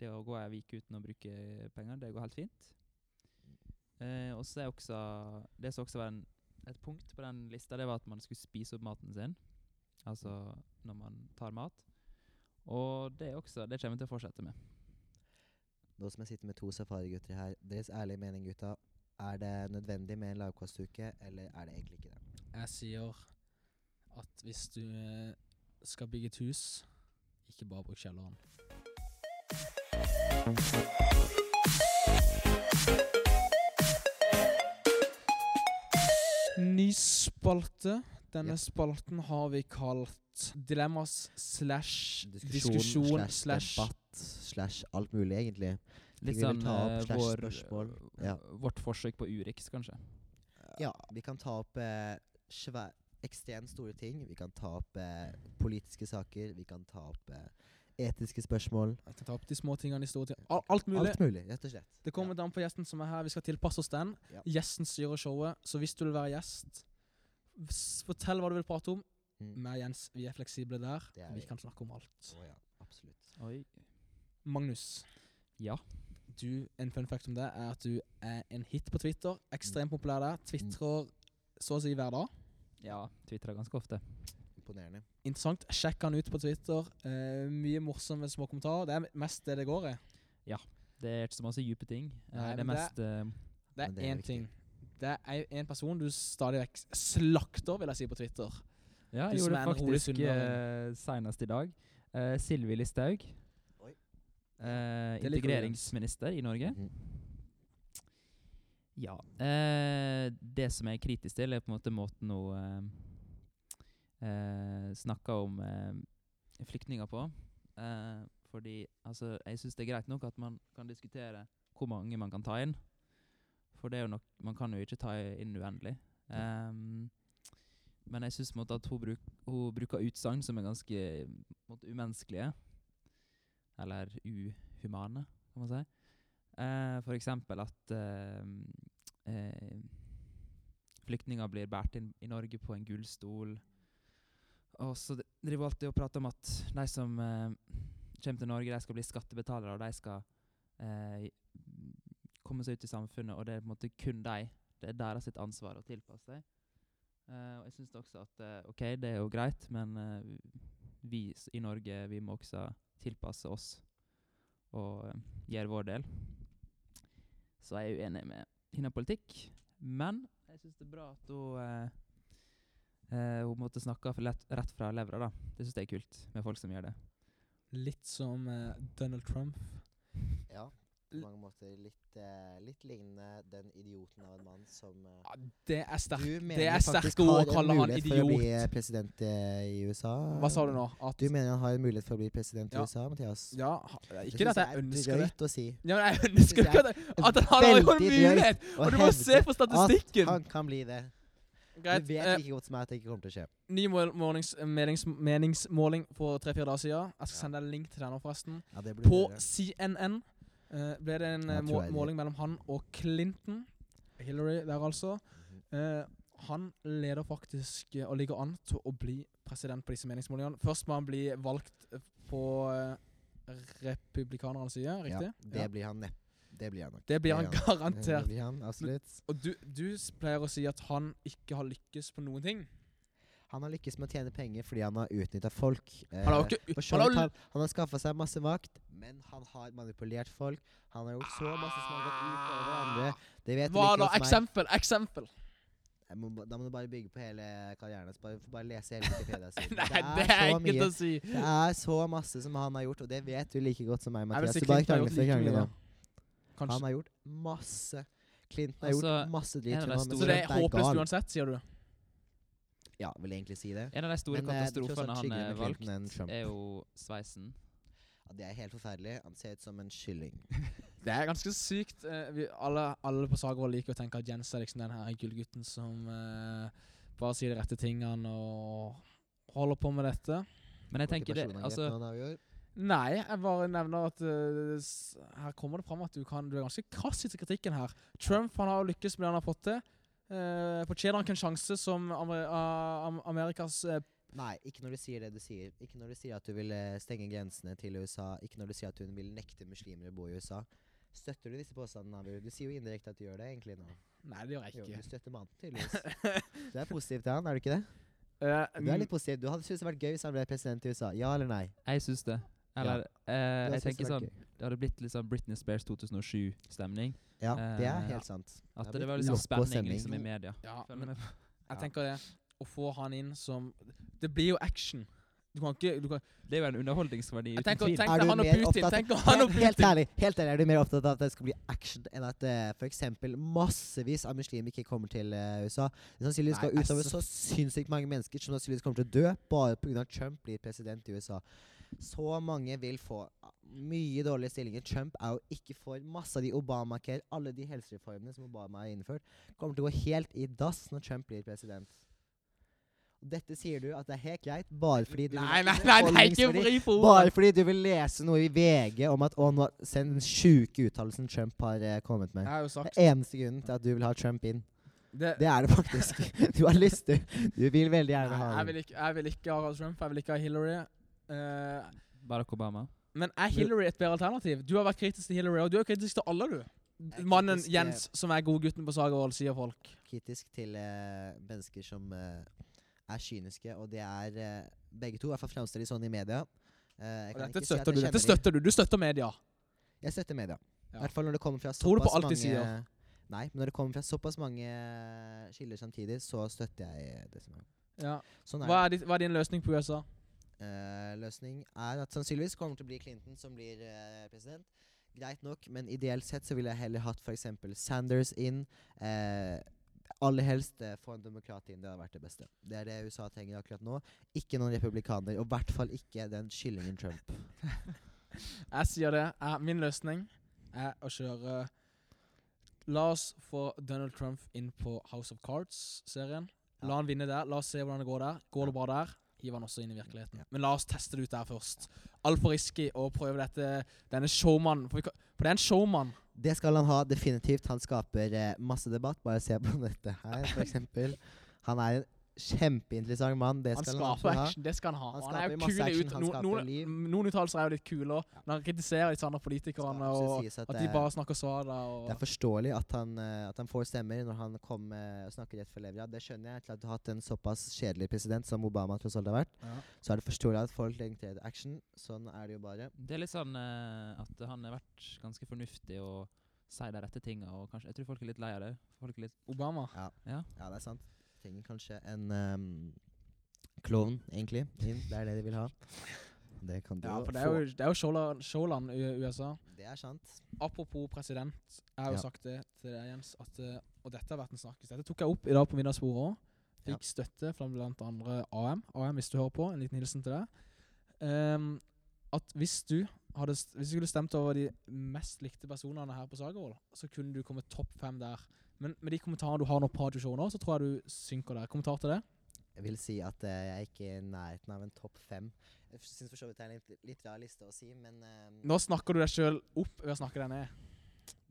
S3: Det å gå ei uke uten å bruke penger, det går helt fint. Eh, og så er også Det som også var en, et punkt på den lista, det var at man skulle spise opp maten sin. Altså
S2: Mm.
S3: når man tar mat. Og det er også Det kommer jeg til å fortsette med.
S2: Nå som jeg sitter med to safarigutter her, deres ærlige mening, gutta. Er det nødvendig med en lavkostuke, eller er det egentlig ikke det?
S1: Jeg sier at hvis du eh, skal bygge et hus, ikke bare bruk kjelleren.
S3: Mm.
S1: Ny spalte. Denne
S2: Yep.
S1: spalten har vi kalt Dilemmas slash
S2: Diskusjon,
S1: diskusjon
S2: slash
S1: slash
S2: debatt slash alt mulig, egentlig.
S3: Litt
S2: vi vil
S3: sånn
S2: ta opp
S3: eh,
S2: slash
S3: vår, eh,
S2: spørsmål. Ja.
S3: vårt forsøk på Urix, kanskje.
S2: Ja, vi kan ta opp eh, svæ- ekstremt store ting. Vi kan ta opp eh, politiske saker. Vi kan ta opp eh, etiske spørsmål.
S1: Jeg kan ta opp de små tingene i store ting. Al- Alt mulig.
S2: Alt mulig, rett og slett.
S1: Det kommer an på gjesten som er her. Vi skal tilpasse oss den.
S2: Ja.
S1: Gjesten styrer showet, så hvis du vil være gjest, s- fortell hva du vil prate om.
S2: Mm.
S1: Meg og Jens, vi er fleksible der.
S2: Det er
S1: vi
S2: vi.
S1: kan snakke om alt.
S2: Å ja, absolutt.
S3: Oi.
S1: Magnus,
S3: Ja.
S1: du, en fun fact om det er at du er en hit på Twitter.
S2: Mm.
S1: Ekstremt populær der. Tvitrer så å si hver dag.
S3: Ja, twitrer ganske ofte.
S2: Imponerende.
S1: Interessant. Sjekk han ut på Twitter. Eh, mye morsomme små kommentarer. Det er mest det det går i.
S3: Det er ikke så masse dype ting. Eh,
S1: Nei,
S3: det er
S1: men
S3: mest eh,
S1: Det
S2: Men
S1: er
S2: det er
S1: én
S2: viktig.
S1: ting. Det er én person du stadig vekk slakter, vil jeg si, på Twitter.
S3: Ja,
S1: Du
S3: jeg
S1: som
S3: gjorde
S1: er
S3: det
S1: en rolig
S3: faktisk eh, senest i dag. Eh, Sylvi Listhaug.
S2: Oi.
S3: Eh,
S1: Det liker vi, Jens.
S3: integreringsminister i Norge.
S2: Mhm.
S3: Ja. Eh, det som jeg er kritisk til, er på en måte måten hun eh, eh, snakker om eh, flyktninger på. Eh, fordi altså, jeg syns det er greit nok at man kan diskutere hvor mange man kan ta inn. For det er jo nok, man kan jo ikke ta inn uendelig. Ehm, men jeg syns at hun, bruk, hun bruker utsagn som er ganske på en måte, umenneskelige. Eller uhumane, kan man si. Eh, for eksempel at eh, eh, flyktninger blir båret inn i Norge på en gullstol. Og så d- driver hun alltid og prater om at de som eh, kommer til Norge, de skal bli skattebetalere, og de skal eh, komme seg ut i samfunnet, og det er på en måte kun de. Det er deres sitt ansvar å tilpasse seg. Eh, og jeg syns også at eh, OK, det er jo greit, men eh, vi s- i Norge vi må også tilpasse oss og eh, gjøre vår del. Så jeg er uenig med hennes politikk. Men jeg syns det er bra at hun eh, eh, Hun måtte snakke for lett, rett fra levra, da. Det syns jeg er kult med folk som gjør det.
S1: Litt som eh, Donald Trump.
S2: Ja. På mange måter litt, eh, litt lignende den idioten av en mann som eh,
S1: Ja, Ah, det er
S2: Du
S1: sterkt.
S2: mener
S1: er
S2: faktisk
S1: sterke ord å
S2: har en
S1: kalle han
S2: mulighet for å
S1: idiot.
S2: bli eh, president eh, i USA.
S1: Hva sa du nå? At
S2: Du mener han har en mulighet for å bli president i
S1: Ja.
S2: USA, Mathias?
S1: Ja, ha- ikke det at jeg ønsker det.
S2: drøyt å si.
S1: Ja, men jeg (laughs) ønsker
S2: synes
S1: ikke at, at han har jo en
S2: veldig drøyt
S1: mulighet!
S2: å
S1: Og du må se
S2: hevde
S1: på statistikken!
S2: At han kan bli det.
S1: Greit.
S2: Du vet
S1: eh,
S2: like godt som meg at det ikke kommer til å skje.
S1: ny mål- målings, menings, meningsmåling for tre-fire dager siden. Jeg skal
S2: Ja.
S1: sende deg en link til den nå, forresten.
S2: Ja, det blir
S1: På
S2: dere.
S1: CNN eh, ble det en
S2: Ja,
S1: eh, må
S2: tror jeg det.
S1: måling mellom han og Clinton. Hillary der, altså.
S2: Mhm.
S1: Eh, Han leder faktisk eh, og ligger an til å bli president på disse meningsmålingene. Først må han bli valgt eh, på eh, republikanernes side, riktig?
S2: Det blir han nepp. Det blir han nok. Eh,
S1: Det blir han
S2: Det
S1: garantert.
S2: blir han, absolutt.
S1: Og du, du s- pleier å si at han ikke har lykkes på noen ting.
S2: Eh, Han har lykkes med å tjene penger fordi han har utnytta folk. Eh,
S1: Han har jo ikke
S2: for
S1: han
S2: så
S1: har,
S2: vidt
S1: jo-
S2: han, han har skaffa seg masse makt, men han har manipulert folk. Han har gjort så masse som har gått ut over andre. Det vet du
S1: Hva
S2: like
S1: da?
S2: godt som meg.
S1: Eksempel! Eksempel! (laughs)
S2: Jeg må, ba- da må du bare bygge på hele karrieren hans. Bare, bare lese hele Wikipedia-siden.
S1: (laughs) Nei, det er
S2: så
S1: ikke
S2: mye-
S1: til å si.
S2: Det er så masse som han har gjort, og det vet du like godt som meg,
S1: Jeg vil
S2: Mathias.
S1: si
S2: Du bare
S1: Clinton har
S2: krangler
S1: gjort
S2: for å
S1: like
S2: krangle
S1: mye.
S2: nå.
S1: da. Kanskje.
S2: Han har gjort masse. Clinton har
S3: Altså,
S2: gjort masse
S3: en
S2: dritt.
S3: av de
S2: men han-
S3: store-
S1: Så det er
S2: Trump
S1: håpløst
S2: gal.
S1: uansett, sier du?
S2: Ja, vil jeg egentlig si det.
S3: En av de store
S2: Men, eh, det er tross alt
S3: katastrofene han
S2: tryggere
S3: er
S2: med
S3: valgt, Eh,
S2: Clinton enn Trump.
S3: er jo sveisen.
S2: Ja, det er helt forferdelig. Han ser ut som en kylling.
S1: Det er ganske sykt. eh, vi, alle, alle på Sagvold liker å tenke at Jens er liksom den her gullgutten som eh, bare sier de rette tingene og holder på med dette.
S3: Men jeg tenker det altså,
S1: Nei, jeg bare nevner at eh, s- her kommer det fram at du, kan, du er ganske krass i kritikken her. Trump han har jo lykkes med det han har fått til. Uh, Fortjener han ikke en sjanse som Amer ah, Am- Amerikas eh,
S2: Nei, ikke når du sier det du sier. Ikke når du sier at du vil eh, stenge grensene til USA. Ikke når du sier at hun vil nekte muslimer å bo i USA. Støtter du disse påstandene? Abu? Du sier jo indirekte at du gjør det egentlig nå.
S1: Nei, det gjør jeg
S2: Jo,
S1: ikke.
S2: du støtter mannen, tydeligvis.
S3: (laughs)
S2: Du er positiv til han, er du ikke det?
S1: Eh,
S2: Du
S3: Mm.
S2: er litt positiv. Du hadde syntes det vært gøy hvis han ble president i USA. Ja eller nei?
S3: Jeg syns det. Eller
S2: Du
S3: eh,
S2: hadde
S3: jeg
S2: syntes
S3: tenker
S2: det hadde vært
S3: sånn Det hadde blitt litt sånn Britney Spears 2007-stemning.
S2: gøy. Ja, det er
S3: Eh, ja.
S2: helt sant.
S3: At
S2: Det
S3: det,
S2: hadde
S3: var
S2: blitt
S3: liksom
S2: lokk og
S3: spenning
S2: stemning.
S3: liksom i media.
S1: ja,
S3: Føler
S1: men
S3: med på.
S1: jeg
S2: Ja.
S1: tenker det. Å få han inn som Det blir jo action. Du kan ikke du kan,
S3: Det er jo en underholdningsverdi
S1: Jeg
S3: uten
S1: tenker,
S3: tvil.
S1: tenk
S2: Er
S1: deg
S2: du
S1: han og
S2: mer
S1: Putin!
S2: opptatt-
S1: Tenk deg han
S2: Helt,
S1: og
S2: helt
S1: Putin!
S2: ærlig, helt ærlig, er du mer opptatt av at det skal bli action enn at eh, for eksempel massevis av muslimer ikke kommer til eh, USA? Det sannsynligvis
S1: Nei,
S2: skal
S1: altså-
S2: utover så sinnssykt mange mennesker som sannsynligvis kommer til å dø bare pga. at Trump blir president i USA. Så mange vil få ah, mye dårlige stillinger. Trump er jo ikke for masse av de Obamacare, alle de helsereformene som Obama har innført, kommer til å gå helt i dass når Trump blir president. Og Dette sier du at det er helt greit, bare fordi du vil
S1: Nei,
S2: ha
S1: nei, nei, nei, ikke
S2: underholdningsverdi.
S1: vri på
S2: Bare
S1: ordet!
S2: fordi du vil lese noe i VG om at å, nå Se den sjuke uttalelsen Trump har eh, kommet
S1: Jeg
S2: med.
S1: har jo sagt
S2: Det er eneste grunnen til at du vil ha Trump inn.
S1: det,
S2: Det er det faktisk. (laughs) Du har lyst til Du vil veldig
S1: Nei,
S2: gjerne ha
S1: jeg,
S2: ham.
S1: vil ikke, jeg vil ikke ha Trump, jeg vil ikke ha Hillary. Eh,
S3: Barack Obama.
S1: men er Hillary et bedre alternativ? Du har vært kritisk til Hillary, og du er kritisk til alle, du.
S2: Jeg er
S1: Mannen
S2: kritisk, eh,
S1: Jens, som er godgutten på Sagervoll, sier folk.
S2: Kritisk til eh, mennesker som eh, er kyniske, og det er eh, begge to. I hvert fall fremstilles sånn i media. Eh, jeg
S1: Og
S2: kan
S1: dette
S2: ikke si at
S1: støtter du.
S2: jeg
S1: Dette
S2: kjenner de.
S1: støtter du. Du støtter media.
S2: Jeg støtter media.
S1: Ja.
S2: I hvert fall når det kommer fra
S1: Tror du på
S2: såpass
S1: alt de sier?
S2: mange- Nei, men når det kommer fra såpass mange kilder samtidig, så støtter jeg det som er.
S1: Ja.
S2: Sånn er det.
S1: Hva, er ditt, hva er din løsning på USA?
S2: eh, løsning er at sannsynligvis kommer til å bli Clinton som blir eh, president. Greit nok, men ideelt sett så ville jeg heller hatt f.eks. Sanders inn. Eh, aller helst eh, få en demokrat inn. Det hadde vært det beste. Det er det USA trenger akkurat nå. Ikke noen republikaner, og i hvert fall ikke den kyllingen Trump.
S1: Jeg sier det. er- min løsning er å kjøre La oss få Donald Trump inn på House of Cards-serien.
S2: Ja.
S1: La han vinne der. La oss se hvordan det går der. Går det bra der, hiv han også inn i virkeligheten.
S2: Ja.
S1: Men la oss teste det ut der først. Altfor risky å prøve dette denne showmannen. For, vi kan- for det er en showman.
S2: Det skal han ha, definitivt. Han skaper eh, masse debatt. Bare se på dette her, f.eks. Han er en kjempeinteressant mann. Det
S1: Han
S2: skal han
S1: skaper
S2: absolutt ha.
S1: action. Det skal han ha. Han,
S2: Han
S1: er jo
S2: skaper masse
S1: kul i ut.
S2: action, han
S1: no-
S2: skaper
S1: Noen,
S2: liv.
S1: noen uttalelser er jo litt kule. Og når han kritiserer disse andre politikerne,
S2: Skal absolutt
S1: og
S2: sies
S1: at de
S2: det-
S1: bare snakker svada og
S2: Det er forståelig at han, eh, at han får stemmer når han kom eh, og snakker rett fra levra. Det skjønner jeg, til at du har hatt en såpass kjedelig president som Obama tross alt har vært.
S1: Ja.
S2: Så er det forståelig at folk trenger action. Sånn er det jo bare.
S3: Det er litt sånn eh, at han har vært ganske fornuftig og sier de rette tinga. Og kanskje, jeg tror folk er litt lei av det. Folk er litt
S1: Obama.
S2: Ja, det er sant. Trenger kanskje en ehm, klovn, egentlig. Inn. Det er det de vil ha. Det kan du
S1: Ja,
S2: jo
S1: for det er
S2: få.
S1: jo, det er jo showland, showland i USA.
S2: Det er sant.
S1: Apropos president, jeg har jo
S2: Ja.
S1: sagt det til deg, Jens, at, eh, og dette har vært en snakkes. Dette tok jeg opp i dag på middagsbordet òg. Fikk støtte fra blant andre AM. AM, hvis du hører på, en liten hilsen til deg. Ehm, at hvis du hadde st- Hvis du skulle stemt over de mest likte personene her på Sagervoll, så kunne du komme topp fem der. Men med de kommentarene du har nå på radioshowet nå, så tror jeg du synker der. Kommentar til det?
S2: Jeg vil si at eh, jeg er ikke i nærheten av en topp fem. Jeg syns for så vidt det er en litt, litt rar liste å si, men ehm,
S1: Nå snakker du deg sjøl opp ved å snakke deg ned.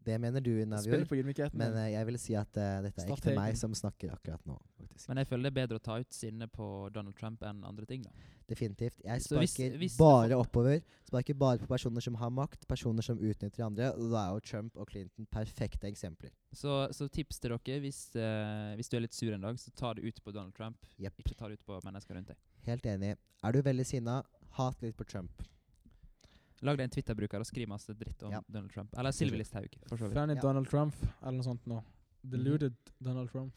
S2: Det mener du, Navjord.
S1: Spiller på ydmykheten.
S2: Men
S1: din.
S2: eh, jeg vil si at eh, dette er ikke
S1: Strategen.
S2: meg som snakker akkurat nå. faktisk.
S3: Men jeg føler det er bedre å ta ut sinne på Donald Trump enn andre ting. da.
S2: Definitivt. Jeg
S3: Så hvis-
S2: sparker
S3: hvis det
S2: bare
S3: folk-
S2: oppover. Sparker bare på personer som har makt, personer som utnytter andre. Og da er jo Trump og Clinton perfekte eksempler.
S3: Så, så tips til dere, hvis, eh, hvis du er litt sur en dag, så ta det ut på Donald Trump.
S2: Jepp.
S3: Ikke ta det ut på mennesker rundt deg.
S2: Helt enig. Er du veldig sinna, hat litt på Trump.
S3: Lag deg en Twitter-bruker og skriv masse dritt om
S2: Ja.
S3: Donald Trump. Eller Sylvi Listhaug, for så vidt.
S1: Fanny
S2: eh, Ja.
S1: Donald Trump, eller noe sånt nå. Deluded Donald Trump.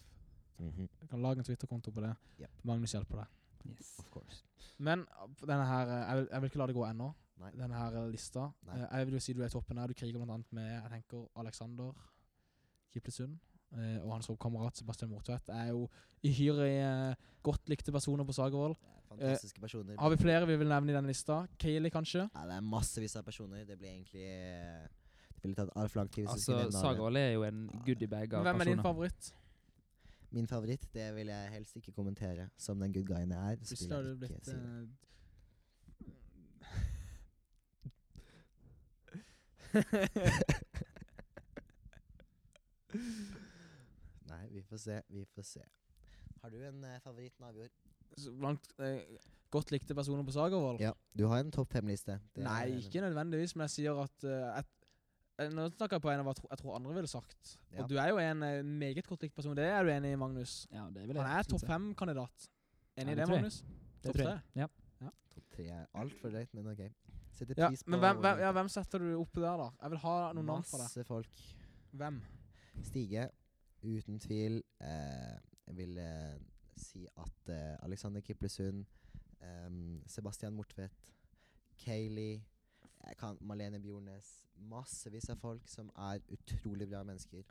S2: Mhm,
S1: Jeg kan lage en Twitter-konto på det.
S2: Yep.
S1: Magnus hjelper deg.
S3: Yes.
S2: Of course.
S1: Men uh, denne her, eh, jeg vil, jeg vil ikke la det gå ennå,
S2: Nei.
S1: denne her eh, lista.
S2: Nei.
S1: Eh, Jeg vil jo si du er i toppen her. Du kriger blant annet med jeg tenker, Alexander Kiplesund. eh, og hans kamerat Sebastian Mortvedt er jo uhyre eh, godt likte personer på Sagervoll.
S2: Fantastiske personer.
S1: Har vi flere vi vil nevne i denne lista? Kayleigh, kanskje?
S2: Ja, det er massevis av personer. Det blir egentlig eh, Det blir tatt altfor lang tid. hvis vi skulle
S3: Altså,
S2: nevne alle.
S3: Saga Ole er jo en goodiebag av
S1: Hvem er din
S3: personer.
S1: favoritt?
S2: Min favoritt, det vil jeg helst ikke kommentere. Som den good guyen jeg er. så vil
S1: Plutselig har
S2: jeg
S1: du
S2: ikke
S1: blitt eh,
S2: si det. Nei, vi får se. Vi får se. Har du en eh, favoritt, Navjord?
S1: eh, så blant eh, godt likte personer på Sagervoll?
S2: Ja. Du har en topp fem-liste. Det er jeg
S1: Nei,
S2: enig
S1: ikke nødvendigvis, men jeg sier at eh, et, eh, Nå snakker jeg på en av hva jeg tro- jeg tror andre ville sagt.
S2: Ja.
S1: Og du er jo en eh, meget godt likt person. Det er du enig i, Magnus?
S3: Ja, det vil jeg
S1: Han er
S3: absolutt
S1: topp
S3: si.
S1: fem-kandidat. Enig
S3: Ja,
S1: i
S3: det
S1: det,
S3: tror jeg.
S1: Magnus?
S3: Det
S1: Topp
S3: tror jeg. Ja.
S2: i. Topp tre er altfor drøyt, men OK. Setter
S1: Ja,
S2: pris på
S1: men hvem,
S2: vår
S1: hvem,
S2: lytter.
S1: ja, hvem setter du oppe der, da? Jeg vil ha noen navn fra deg.
S2: Masse folk.
S1: Hvem?
S2: Stige, uten tvil. Eh, jeg vil eh, si at eh, Alexander Kiplesund, ehm, Sebastian Mortvedt, Kayleigh jeg kan, Malene Bjornes Massevis av folk som er utrolig bra mennesker.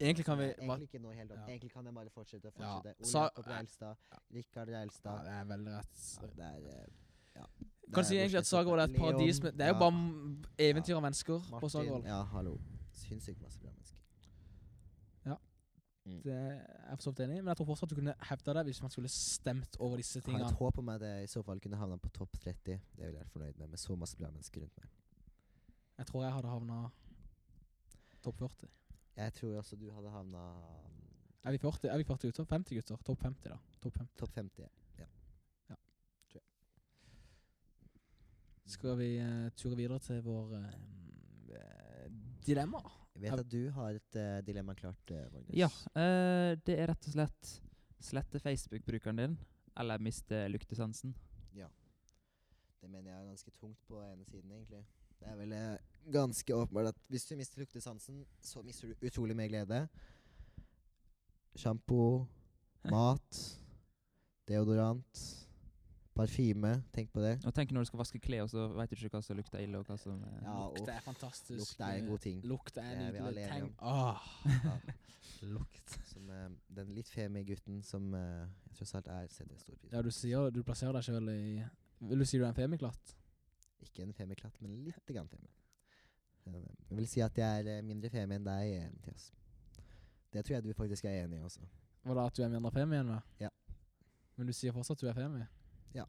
S1: Egentlig kan vi
S2: Nei,
S1: hva-
S2: egentlig ikke nå helt opp.
S1: Ja.
S2: Egentlig kan jeg bare fortsette og
S1: Ja.
S2: fortsette. Ole
S1: Sa-
S2: Jakob
S1: eh,
S2: Reilstad, Rikard
S1: ja,
S2: Reilstad
S1: Det er veldig rett.
S2: ja, Det er eh, ja. Det
S1: Kan
S2: er
S1: si
S2: hvor
S1: egentlig
S2: skal jeg
S1: at Sagervoll er et
S2: stoppe?
S1: paradis
S2: Leon,
S1: med Det er jo
S2: ja.
S1: bare m- eventyr av mennesker på
S2: Martin,
S1: Sagervoll.
S2: Ja, hallo. Sinnssykt masse bra mennesker.
S1: Det er jeg for så vidt enig i, men jeg tror fortsatt du kunne hevda det hvis man skulle stemt over disse
S2: Jeg har
S1: tingene.
S2: et håp om at jeg i så fall kunne havna på topp 30. Det ville jeg vært fornøyd med, med så masse bra mennesker rundt meg.
S1: Jeg tror jeg hadde havna topp 40.
S2: Jeg tror også du hadde um, havna
S1: Er vi 40, er vi 40 gutter? 50 gutter? Topp 50, da. Topp 50.
S2: topp 50.
S1: Skal vi eh, ture videre til vår eh, dilemma?
S2: Jeg vet at du har et eh, dilemma klart, eh, Magnus.
S3: Ja, eh, det er rett og slett slette Facebook-brukeren din, eller miste luktesansen.
S2: ja. Det mener jeg er ganske tungt på ene siden, egentlig. Det er vel eh, ganske åpenbart at hvis du mister luktesansen, så mister du utrolig mye glede. Sjampo, mat, deodorant, parfyme. Tenk på det.
S3: Og tenk når du skal vaske klær, og så vet du ikke hva som lukter ille, og hva som eh,
S2: Ja,
S1: Lukt
S2: uff.
S1: er fantastisk. eh,
S2: Lukt er en god ting.
S1: (laughs) Lukt er
S2: Det er vi alle
S1: nydelig.
S2: enige
S1: Tenk Ah, Åh.
S2: Lukt. Som eh, den litt femi gutten som eh, jeg tross alt er, setter stor pris på.
S1: Ja, du sier Du plasserer deg sjøl i Vil du si du er en femiklatt?
S2: Ikke en femiklatt, men lite grann femi. Eh, Jeg vil si at jeg er eh, mindre femi enn deg, eh, Mathias. Det tror jeg du faktisk er enig i også.
S1: Var det at du er mindre femi enn meg?
S2: Ja.
S1: Men du sier fortsatt at du er femi?
S2: Ja.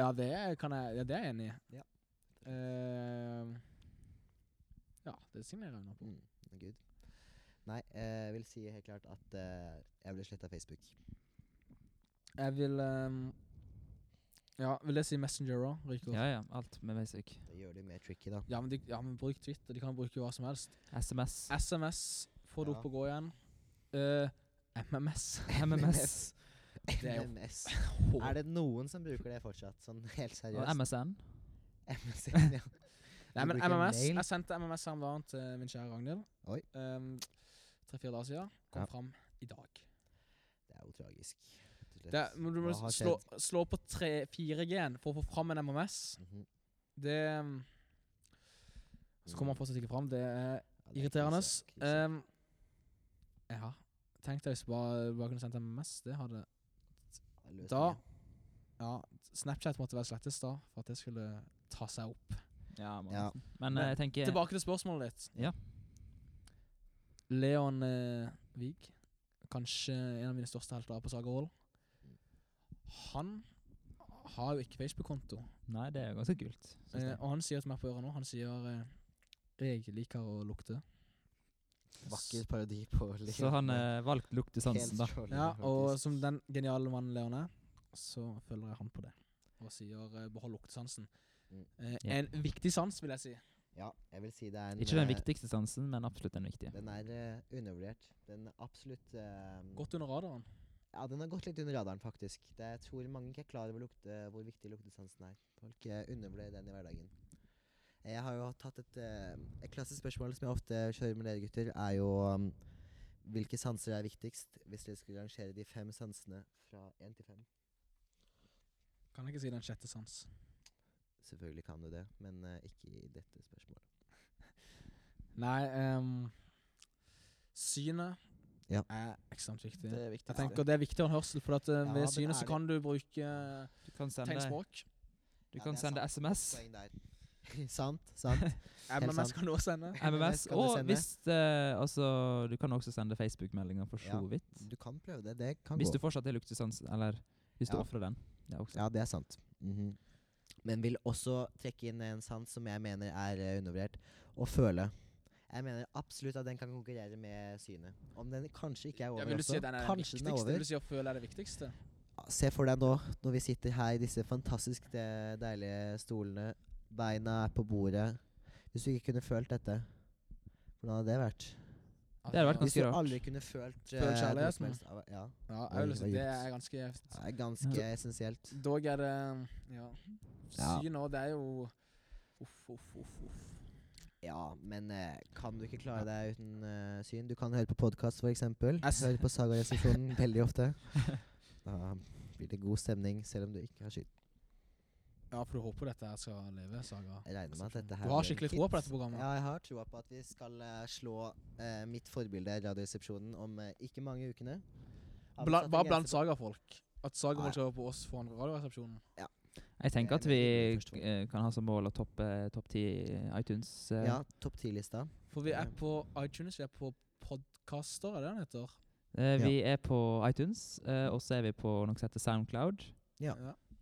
S1: Ja, det kan jeg Ja, det er jeg enig i.
S2: Ja.
S1: Eh, ja, det signerer jeg under på.
S2: Mm, good. Nei, eh, jeg vil si helt klart at eh, jeg ble sletta av Facebook.
S1: Jeg vil ehm, Ja, vil det si Messenger òg?
S3: ja, ja, alt med basic.
S2: Det gjør det mer tricky, da.
S1: Ja, men de, ja, men bruk Twitter. De kan bruke hva som helst.
S3: SMS.
S2: (laughs)
S1: SMS får du
S2: Ja.
S1: opp og gå igjen. Eh, MMS.
S3: MMS.
S2: (laughs)
S1: Det er jo (laughs)
S2: MMS. Er det noen som bruker det fortsatt? Sånn helt
S3: Og
S2: seriøst?
S3: MSN.
S2: (laughs) MSN, ja.
S1: Nei,
S2: Du
S1: men
S2: bruker
S1: MMS
S2: mail?
S1: Jeg sendte MMS her om dagen til min kjære Ragnhild.
S2: Oi.
S1: Ehm, Tre-fire dager siden. Kom
S2: Ja.
S1: fram i dag.
S2: Det er jo tragisk. rett og slett.
S1: Det, er- men du må
S2: Hva har
S1: slå,
S2: skjedd?
S1: slå på 4G-en for å få fram en MMS.
S2: Mhm.
S1: Det ehm, Så kommer han fortsatt ikke fram. Det er
S2: Mm. Ja, det er
S1: irriterende.
S2: krise, krise.
S1: Um, ja. Tenk deg hvis du bare, bare kunne sendt MMS. Det hadde
S2: Det er løsningen.
S1: Da Ja, Snapchat måtte være slettes da, for at det skulle ta seg opp.
S3: Ja, må
S2: Ja.
S3: nesten. Men eh, jeg tenker
S1: Tilbake til spørsmålet ditt.
S3: Ja.
S1: Leon eh, Wiig, kanskje en av mine største helter på Sagervoll. Han har jo ikke Facebook-konto,
S3: Nei, det er jo ganske kult. synes
S1: eh,
S3: jeg.
S1: og han sier til meg på øret nå Han sier eh, 'Jeg liker å lukte'.
S2: Vakker parodi på livet.
S3: Så han eh, valgt
S2: Helt
S3: luktesansen, da.
S2: strålende,
S1: Ja, og
S2: faktisk.
S1: som den geniale mannen Leon er, så følger jeg han på det. Og sier eh, 'behold luktesansen'.
S2: Mm.
S1: Eh,
S3: Ja.
S1: En viktig sans, vil jeg si.
S2: Ja, jeg vil si det er en
S3: Ikke den
S2: eh,
S3: viktigste sansen, men absolutt den viktige.
S2: Den er eh, undervurdert. Den er absolutt eh,
S1: Godt under radaren.
S2: Ja, den har gått litt under radaren, faktisk. Det, jeg tror mange ikke er klar over lukte, hvor viktig luktesansen er. Folk eh, undervurderer den i hverdagen. Jeg har jo tatt et, eh, et klassisk spørsmål som jeg ofte kjører med dere gutter, er jo um, hvilke sanser er viktigst, hvis dere skulle rangere de fem sansene fra én til fem?
S1: Kan jeg ikke si den sjette sans.
S2: Selvfølgelig kan du det, men eh, ikke i dette spørsmålet.
S1: Nei ehm, Synet
S2: Ja.
S1: er ekstremt viktig.
S4: Det er viktig.
S1: Jeg tenker Det er viktigere enn hørsel, for at, eh,
S2: Ja,
S1: ved
S2: men
S1: synet
S2: er
S1: så
S2: det-
S1: kan du bruke eh,
S3: Du kan sende,
S1: tegnspråk.
S3: du
S2: Ja,
S3: kan
S2: det er
S3: sende
S2: sant. (laughs)
S3: SMS.
S2: Poeng der. (laughs) sant,
S3: (laughs)
S2: sant. Helt
S1: MMS
S2: sant.
S1: kan du også sende.
S3: MMS.
S2: kan du
S3: Og
S2: sende.
S3: hvis eh, Altså, du kan også sende Facebook-meldinger, for
S2: Ja,
S3: så vidt.
S2: Du kan prøve det. Det kan
S3: Hvis
S2: gå.
S3: du fortsatt er luktesans, eller hvis du
S2: Ja.
S3: ofrer den. Ja, også.
S2: Ja, det er sant. Mhm. Men vil også trekke inn en sans som jeg mener er eh, undervurdert. Å føle. Jeg mener absolutt at den kan konkurrere med synet. Om den kanskje ikke er over
S1: Ja, vil du
S2: også.
S1: si at den er den
S2: kanskje
S1: viktigste?
S2: den er over.
S1: Vil du si å føle er det viktigste?
S2: Se for deg nå, når vi sitter her i disse fantastisk de- deilige stolene. Beina er på bordet. Hvis du ikke kunne følt dette, hvordan hadde det vært?
S3: Det hadde vært
S2: Hvis
S3: ganske
S2: du
S3: rart.
S2: aldri kunne følt
S1: Følt
S2: eh, noe som
S1: kjærligheten?
S2: helst av- Ja,
S1: Ja, jeg vil
S2: Oi,
S1: si
S2: oi,
S1: det
S2: oi.
S1: er ganske jevnt.
S2: det er ganske essensielt.
S1: Dog er det Ja.
S2: Ja.
S1: Syn òg, det er jo Uff, uff, uff. uff.
S2: Ja, men eh, kan du
S1: Mm,
S2: ikke klare deg uten eh, syn? Du kan høre på podkast, f.eks. Høre på Sagaresepsjonen
S1: (laughs)
S2: veldig ofte. Da blir det god stemning, selv om du ikke har syn.
S1: Ja, for du håper dette her skal leve, Saga.
S2: Jeg regner med at dette her
S1: Du har
S2: blir en
S1: skikkelig
S2: hit.
S1: tro på dette programmet?
S2: Ja, jeg har troa på at vi skal eh, slå eh, mitt forbilde, Radioresepsjonen, om eh, ikke mange ukene. Har vi
S1: Bla,
S2: satt en
S1: bare
S2: grense
S1: blant
S2: på-
S1: Saga-folk. At Saga må
S2: Nei.
S1: kjøre på oss foran Radioresepsjonen.
S3: Jeg tenker
S2: Det
S3: at
S2: er
S3: vi
S2: det jeg
S3: eh, kan ha som mål å toppe eh, topp ti iTunes. eh,
S2: Ja, topp ti-lista.
S1: For vi er
S2: Ja.
S1: på iTunes, vi er på podkaster, er det den heter?
S3: Eh, Vi er på iTunes, eh, og så er vi på noe som heter Soundcloud.
S2: Ja.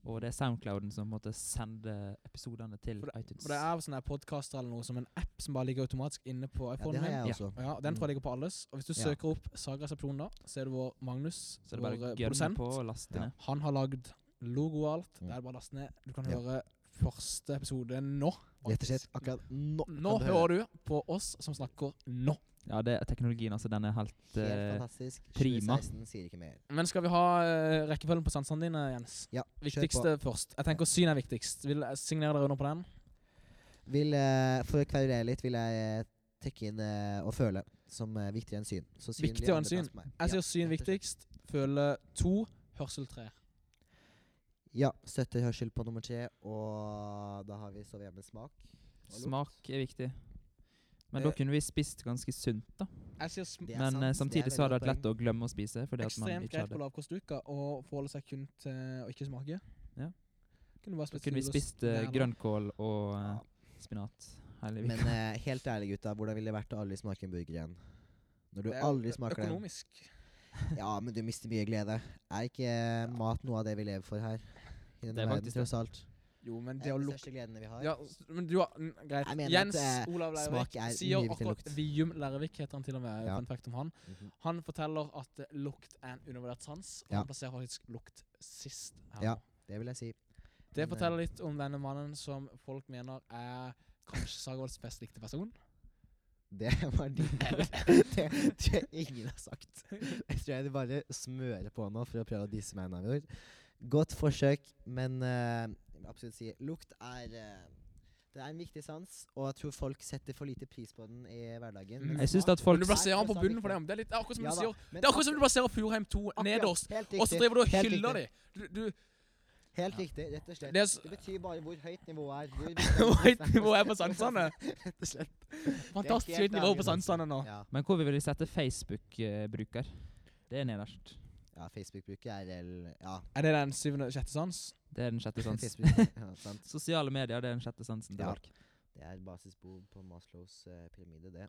S3: Og det er Soundclouden som måtte sende episodene til
S1: For
S3: iTunes.
S1: For det er sånne podkaster eller noe som en app som bare ligger automatisk inne på
S2: Ja, det
S1: iPhonen
S2: har
S1: min.
S2: jeg
S3: Ja.
S2: også.
S1: Ja, Den tror jeg ligger på alles. Og hvis du
S2: Ja.
S1: søker opp Saga-resepsjonen da, så er det vår Magnus,
S3: så det er
S1: vår
S3: bare å
S1: eh,
S3: gønne
S1: produsent.
S3: på og laste
S2: Ja.
S3: ned.
S1: Han har lagd logo og alt. Det er bare å laste ned. Du kan
S2: Mm. Ja.
S1: høre første episode nå.
S2: Rett og
S1: faktisk.
S2: slett akkurat nå.
S1: Nå
S2: kan
S1: hører
S2: høre.
S1: du på oss som snakker nå.
S3: Ja, det er teknologien, altså. Den er helt
S2: Helt
S3: eh,
S2: fantastisk.
S3: prima.
S2: 2016 sier ikke mer.
S1: Men skal vi ha eh, rekkefølgen på sansene dine, Jens?
S2: Ja, kjør på.
S1: Viktigste først. Jeg tenker syn er viktigst. Vil jeg signere dere under på den?
S2: Vil, eh, for å kverulere litt vil jeg eh, trekke inn eh, å føle som eh, viktigere enn syn. Så syn blir
S1: Viktigere enn
S2: andreplass
S1: syn.
S2: for meg.
S1: Jeg
S2: Ja,
S1: sier syn
S2: rett og slett.
S1: viktigst. Føle to, hørsel tre.
S2: Ja. Støtter hørsel på nummer tre, og da har vi så vi har med smak. og lukt.
S3: Smak er viktig. Men da
S1: Eh,
S3: kunne vi spist ganske sunt, da.
S1: Jeg sier sm
S2: Det er
S3: Men
S2: sant, det
S3: eh,
S2: er
S3: samtidig
S2: veldig
S3: så hadde det
S2: godt
S3: vært lett å glemme å spise. Fordi at man
S1: ekstremt
S3: ikke
S1: greit på
S3: hadde
S1: lavkostuka å forholde seg kun til å ikke smake.
S3: Ja.
S1: Kunne bare
S3: Da
S1: spist
S3: kunne vi
S1: frokost
S3: spist
S1: hver
S3: eh,
S1: dag.
S3: grønnkål og eh, spinat hele
S2: Men
S3: uka. (laughs)
S2: eh, helt ærlig, gutta. Hvordan ville det vært å aldri smake en burger igjen? Når du
S1: Det er jo
S2: aldri
S1: ø-
S2: smaker den.
S1: Økonomisk.
S2: Ja, men du mister mye glede. Er ikke eh, mat noe av det vi lever for her? I denne
S3: er
S2: verden,
S3: faktisk det.
S2: tross alt.
S1: Jo, men
S2: Det
S1: det
S2: er
S1: å
S2: de
S1: lukte
S2: største gledene vi har.
S1: ja, s- men du har, mm, Greit.
S2: Jeg mener
S1: Jens
S2: at, eh,
S1: Olav Lervik
S2: smak er mye
S1: sier
S2: viktigere enn
S1: akkurat
S2: lukt.
S1: Vium Lervik heter han til og med.
S2: Ja.
S1: Fun fact om han.
S2: Mhm.
S1: Han forteller at eh, lukt er en undervurdert sans, og
S2: Ja.
S1: han plasserer faktisk lukt sist. her
S2: Ja.
S1: nå.
S2: Det vil jeg si.
S1: Det
S2: Men, eh,
S1: forteller litt om denne mannen som folk mener er kanskje Sagervolds best likte person.
S2: Det var de det, tror jeg ingen har sagt. Jeg tror jeg de bare smører på nå for å prøve å disse meg. Navidor. Godt forsøk, men eh, jeg vil absolutt si lukt er eh, Det er en viktig sans, og jeg tror folk setter for lite pris på den i hverdagen.
S1: Mm.
S2: men
S3: Jeg syns
S2: smak-
S3: at folk
S1: Men du plasserer han på
S2: Nei,
S1: bunnen
S2: det
S1: for
S2: sa
S1: det.
S2: vi
S1: men Det er, litt, det er akkurat som
S2: Ja
S1: du
S2: da,
S1: sier
S2: men
S1: Det er akkurat som
S2: akkurat-
S1: du plasserer Furheim 2
S2: akkurat,
S1: nederst,
S2: Helt
S1: og så
S2: riktig.
S1: driver du og
S2: Helt
S1: hyller
S2: riktig.
S1: dem. Du, du,
S2: Helt riktig, rett og slett.
S1: det er s-
S2: Det betyr bare hvor høyt
S1: (laughs)
S2: nivået er. Hvor,
S1: Hvor høyt nivået er på sansene.
S2: (laughs) rett og slett.
S1: fantastisk
S2: helt
S1: høyt nivå
S2: ærlig,
S1: på sansene nå.
S2: Ja,
S3: Men hvor vi vil sette Facebook-bruker? Det er nederst.
S2: ja Facebook-bruket er el- Ja.
S1: Er det den syvende sjette sans?
S3: Det er den
S2: (laughs)
S3: sjette sans.
S2: Facebook- ja, sant.
S3: Sosiale medier det er den sjette sansen til
S2: Ja.
S3: folk.
S2: Det er basisbehov på Maslows eh, pyramide, det.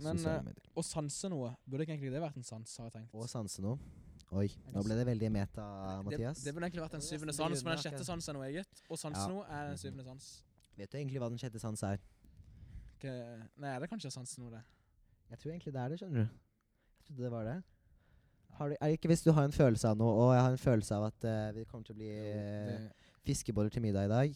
S1: Men,
S2: Sosiale
S1: eh,
S2: medier.
S1: Å sanse noe, burde ikke egentlig det vært en sans, har jeg tenkt.
S2: Og sanse noe. Oi, nå ble det veldig meta, Mathias.
S1: Det, det burde egentlig vært den
S2: Det er
S1: syvende
S2: nesten
S1: sans, men den
S2: begrunnet,
S1: sjette
S2: akkurat.
S1: sans er noe eget. Og sanse
S2: Ja.
S1: noe er den syvende sans.
S2: Vet du egentlig hva den sjette sans er?
S1: Ikke- Nei, det er kanskje sans noe, det.
S2: Jeg tror egentlig det er det, skjønner du. Jeg trodde det var det. Har du, er det ikke hvis du har en følelse av noe, og jeg har en følelse av at eh, vi kommer til å bli eh,
S1: Det,
S2: fiskeboller til middag i dag,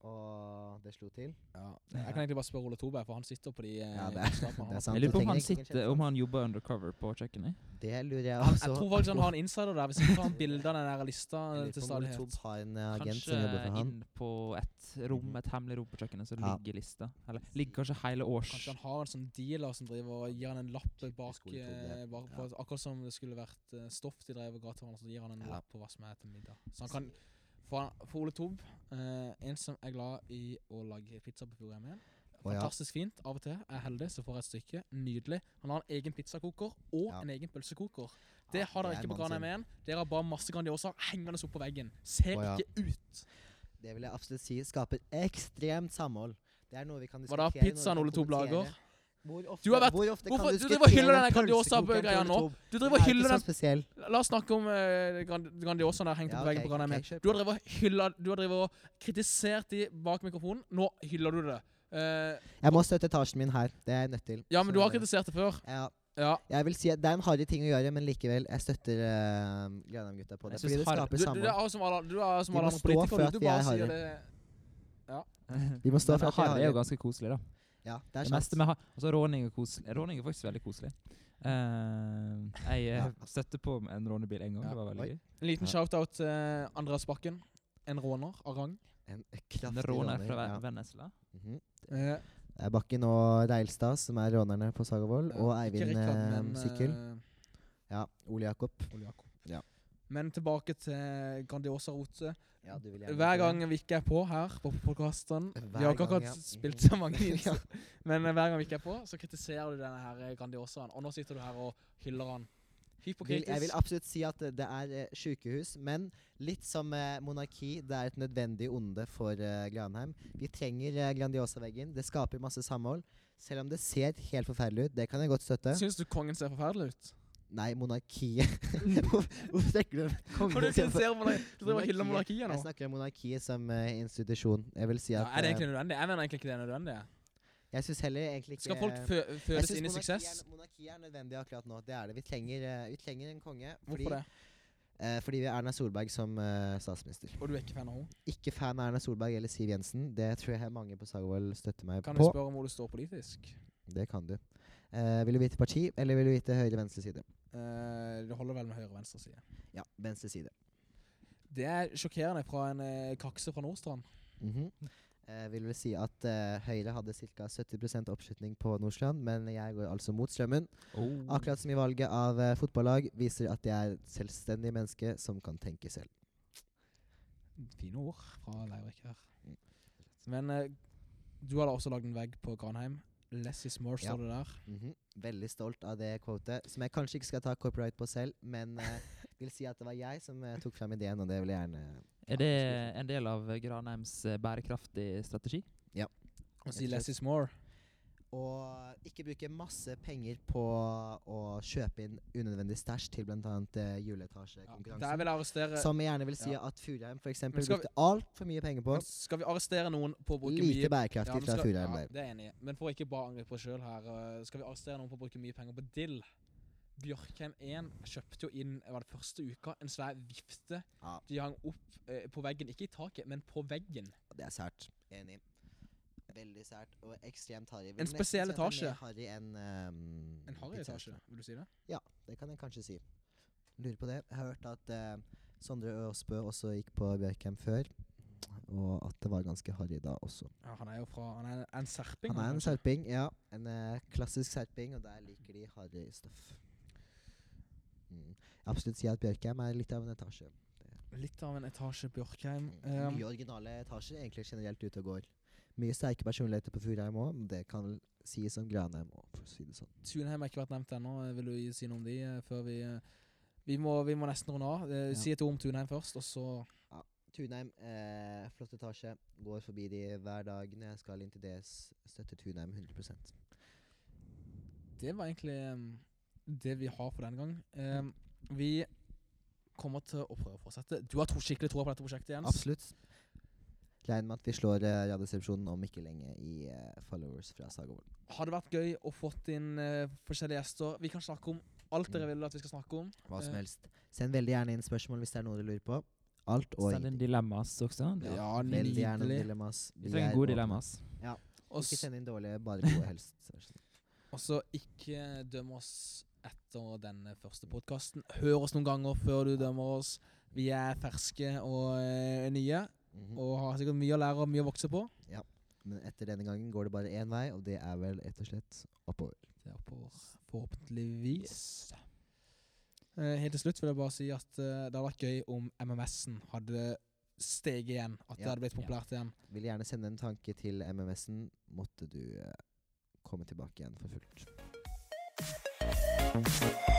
S2: og det slo til
S1: ja. Jeg kan egentlig bare spørre Ole Toberg, for han sitter på de eh,
S2: Ja, det er-
S1: kunnskapene han
S2: det er
S1: har.
S2: sant.
S3: Jeg lurer på
S2: så
S3: om han,
S2: trenger jeg ikke
S3: sitter, om han jobber undercover på kjøkkenet.
S2: Det lurer jeg
S1: Han,
S2: også
S1: jeg tror faktisk han har en insider der, hvis ikke tar han bilder av den der lista
S2: Jeg lurer
S1: til
S2: på om Ole Tob
S1: stadighet.
S2: har en eh, agent som
S3: Kanskje
S2: jobber for han. Mhm.
S3: inn på et rom, et hemmelig rom på kjøkkenet, så
S2: Ja.
S3: ligger lista. Eller ligger kanskje hele års
S1: Kanskje han har en sånn dealer som driver og gir han en lapp bak,
S2: Ole Tob,
S1: eh,
S2: ja.
S1: bak på, Akkurat som det skulle vært eh, stoff de drev og ga til hverandre, så gir han en
S2: Ja.
S1: lapp på hva som er til middag. Så han kan For, han, for Ole Tob, eh, en som er glad i å lage pizza på programmet.
S2: Å ja.
S1: Fantastisk fint. Av og til er jeg heldig, så får jeg et stykke. Nydelig. Han har en egen pizzakoker og
S2: Ja.
S1: en egen pølsekoker.
S2: Ja,
S1: Det har dere
S2: er
S1: ikke på
S2: mannen sin.
S1: Granheim 1. Dere har bare masse Grandiosa hengende opp på veggen. Ser
S2: Å, ja.
S1: ikke ut.
S2: Det vil jeg absolutt si skaper ekstremt samhold. Det er noe vi kan
S1: Var
S2: diskutere.
S1: det
S2: når vi
S1: pizzaen
S2: kan
S1: Ole Tob lager?
S2: kommentere. Hvor ofte,
S1: Du har vært-
S2: hvor ofte
S1: hvorfor-
S2: kan
S1: du driver og hyller
S2: diskutere
S1: den der Grandiosa-bø-
S2: pølsekokeren til
S1: greia
S2: Ole
S1: nå.
S2: Tob?
S1: Du
S2: Den
S1: driver og
S2: er ikke
S1: hyller
S2: så
S1: den
S2: spesiell.
S1: La oss snakke om eh, Grand- Grandiosaen der hengt
S2: Ja,
S1: opp på veggen
S2: ok,
S1: på Grand
S2: ok,
S1: Amel.
S2: kjør
S1: Du har drevet og hylla- du har drevet og kritisert de bak mikrofonen. Nå hyller du det. Eh,
S2: Jeg må støtte etasjen min her. Det er jeg nødt til.
S1: ja, men
S2: Sånn
S1: du har
S2: er det.
S1: kritisert det før.
S2: Ja,
S1: Ja.
S2: jeg vil si at Det er en harry ting å gjøre, men likevel, jeg støtter uh, Granheim-gutta på det.
S3: Jeg synes
S2: Fordi det
S3: harry-
S1: Du, du,
S2: skaper
S1: du
S2: samhold.
S1: er jo som alle, du er jo som
S2: Vi
S1: alle
S2: må
S1: andre
S2: stå for
S1: politikere.
S2: at
S1: Du, du
S2: vi er
S1: bare
S2: harry.
S1: sier det.
S2: Vi må stå
S3: Men
S2: for at vi
S3: Harry er jo
S2: har
S3: ganske koselig, da.
S2: Ja, det er
S3: Det
S2: sant.
S3: meste med har- altså, råning, er koselig. råning er faktisk veldig koselig. Eh, jeg eh, støtte på med en rånebil en gang.
S1: Ja.
S3: Det var veldig
S2: Oi.
S3: gøy.
S1: En liten
S2: Ja.
S1: shout-out til eh, Andreas Bakken. En råner av rang.
S2: En
S3: En
S2: kraftig
S3: råner fra
S2: ja.
S3: Ve- Vennesla.
S2: Mhm.
S1: Eh,
S2: Det er Bakken og Reilstad som er rånerne på Sagavold. Og
S1: eh, ikke
S2: Eivind
S1: Rikard,
S2: eh,
S1: men,
S2: Sykkel.
S1: eh,
S2: Ja, Ole Jakob.
S1: Ole Jakob.
S2: Ja.
S1: Men tilbake til Grandiosa-rotet.
S2: Ja, du vil gjerne
S1: Hver
S2: få den.
S1: gang vi ikke er på her på podkasten Vi
S2: Hver
S1: har ikke
S2: gang,
S1: akkurat
S2: ja.
S1: spilt så
S2: (laughs)
S1: mange innslag, men eh, hver gang vi ikke er på, så kritiserer du denne her eh, Grandiosaen. Og nå sitter du her og hyller han.
S2: vil, jeg vil
S1: Hypokritisk.
S2: absolutt si at eh, det er eh, sykehus, men litt som eh, monarki, det er et nødvendig onde for eh, Granheim. Vi trenger eh, Grandiosa-veggen. Det skaper masse samhold. Selv om det ser helt forferdelig ut. Det kan jeg godt støtte.
S1: Syns du kongen ser forferdelig ut?
S2: Nei, monarkiet (laughs) Hvor- Hvorfor trekker
S1: (laughs)
S2: du
S1: For du
S2: kongen? til-
S1: kritiserer monarki- Du driver og hyller monarkiet
S2: Monarkiet. Jeg
S1: nå.
S2: snakker om monarkiet som eh, institusjon. Jeg vil si
S1: Ja,
S2: at
S1: er det
S2: eh,
S1: egentlig nødvendig? Jeg mener egentlig ikke det er nødvendig.
S2: Jeg syns heller egentlig ikke
S1: Skal folk
S2: eh,
S1: fø
S2: jeg
S1: fødes
S2: synes
S1: inn i
S2: monarki
S1: suksess?
S2: er- Monarki er nødvendig akkurat nå. Det er det. Vi trenger, eh, vi trenger en konge.
S1: Hvorfor det?
S2: Eh, fordi vi har Erna Solberg som eh, statsminister.
S1: Og du er ikke fan av henne?
S2: Ikke fan av Erna Solberg eller Siv Jensen. Det tror jeg mange på Sagvold støtter meg
S1: Kan vi
S2: på.
S1: spørre om hvor du står politisk?
S2: Det kan du. Eh, vil du vite parti, eller vil du vite høyre-venstre side?
S1: Eh, det holder vel med høyre og venstre side.
S2: Ja, venstre side.
S1: Det er sjokkerende fra en eh, kakse fra Nordstrand.
S2: Mhm. Eh, vil vel si at eh, Høyre hadde ca. 70 oppslutning på Nordstrand, men jeg går altså mot strømmen. Akkurat som i valget av eh, fotballag viser at jeg er et selvstendig menneske som kan tenke selv.
S1: Fine ord fra Leirik her. Men eh, du har da også lagd en vegg på Granheim. Less is more,
S2: Ja.
S1: står det der.
S2: Mhm. Veldig stolt av det quotet, som jeg kanskje ikke skal ta copyright på selv, men (laughs) eh, vil si at det var jeg som eh, tok frem ideen, og det vil jeg gjerne
S3: Er det en del av Granheims eh, bærkraftig strategi?
S1: Og si
S2: Rett og
S1: 'less is more'.
S2: Og ikke bruke masse penger på å kjøpe inn unødvendig stæsj til bl.a. Eh,
S1: Ja.
S2: juleetasjekonkurransen.
S1: Der vil jeg arrestere
S2: som jeg gjerne vil si
S1: eh, ja.
S2: at Furheim for
S1: Men
S2: eksempel
S1: skal
S2: brukte altfor mye penger på.
S1: Men Skal vi arrestere noen på å bruke
S2: Lite
S1: mye Ja,
S2: bærekraftig
S1: men
S2: fra
S1: skal-
S2: Furheim
S1: ja,
S2: der.
S1: Det er jeg enig i. Men for å ikke bare angripe oss sjøl her, eh, skal vi arrestere noen på å bruke mye penger på dill? Bjørkheim 1 kjøpte jo inn var det første uka en svær vifte
S2: Ja.
S1: de hang opp eh, på veggen. Ikke i taket, men på veggen.
S2: Det er sært. Enig. Veldig sært og ekstremt harry. Vil
S1: En
S2: nesten
S1: spesiell
S2: si at det er
S1: etasje.
S2: mer Harry enn ehm,
S1: En harry
S2: pizza.
S1: etasje, vil du si det?
S2: Det kan jeg kanskje si. Lurer på det. Jeg har hørt at eh, Sondre Aasbø også gikk på Bjørkheim før, og at det var ganske harry da også.
S1: Ja, han er jo fra Han er en serping. altså.
S2: Han er en
S1: kanskje.
S2: serping, ja. En eh, klassisk serping, og der liker de harry stoff. Mm. Jeg absolutt si at Bjørkheim er litt av en etasje.
S1: Mm, Litt av en etasje Bjørkheim.
S2: Mm.
S1: Um,
S2: Mye originale etasjer egentlig generelt ute og går. Mye sterke personligheter på Furheim òg, men det kan vel sies om Granheim òg, for å si det sånn.
S1: Tunheim har ikke vært nevnt ennå. Eh, Vil du gi- si noe om de eh, før vi eh, vi må, vi må nesten runde av. Eh,
S2: Ja.
S1: Si et ord om Tunheim først, og så
S2: Tunheim, eh, flott etasje. Går forbi de hver dag når jeg skal inn til DS. Støtter Tunheim 100
S1: Det var egentlig em, det vi har for denne gang. Em, vi kommer til å prøve å fortsette. Du har tro, skikkelig tro på dette prosjektet, Jens.
S2: Absolutt. Regner med at vi slår eh, Radioresepsjonen om ikke lenge i eh, followers fra Sagavold.
S1: Har det vært gøy å få inn eh, forskjellige gjester? Vi kan snakke om alt
S2: Mm.
S1: dere vil at vi skal snakke om.
S2: Hva som
S1: Eh.
S2: helst. Send veldig gjerne inn spørsmål hvis det er noe dere lurer på. Alt og
S3: Send inn
S2: ingenting.
S3: dilemmas også.
S1: Ja,
S2: Veldig gjerne noen
S1: nydelig.
S2: dilemmas.
S3: Vi trenger gode dilemmas.
S1: Og
S2: Ikke
S1: s-
S2: send inn dårlige, bare gode helst. Sånn. Vær så snill.
S1: Og så ikke døm oss etter denne første podkasten. Hør oss noen ganger før du dømmer oss. Vi er ferske og eh, nye
S2: Mhm.
S1: og har sikkert mye å lære og mye å vokse på.
S2: Men etter denne gangen går det bare én vei, og det er vel rett og slett oppover.
S1: Det er oppover, forhåpentligvis. Eh, helt til slutt vil jeg bare si at eh, det hadde vært gøy om MMS-en hadde steget igjen. At det
S2: Ja.
S1: hadde blitt populært igjen.
S2: Vil gjerne sende en tanke til MMS-en. Måtte du eh, komme tilbake igjen for fullt.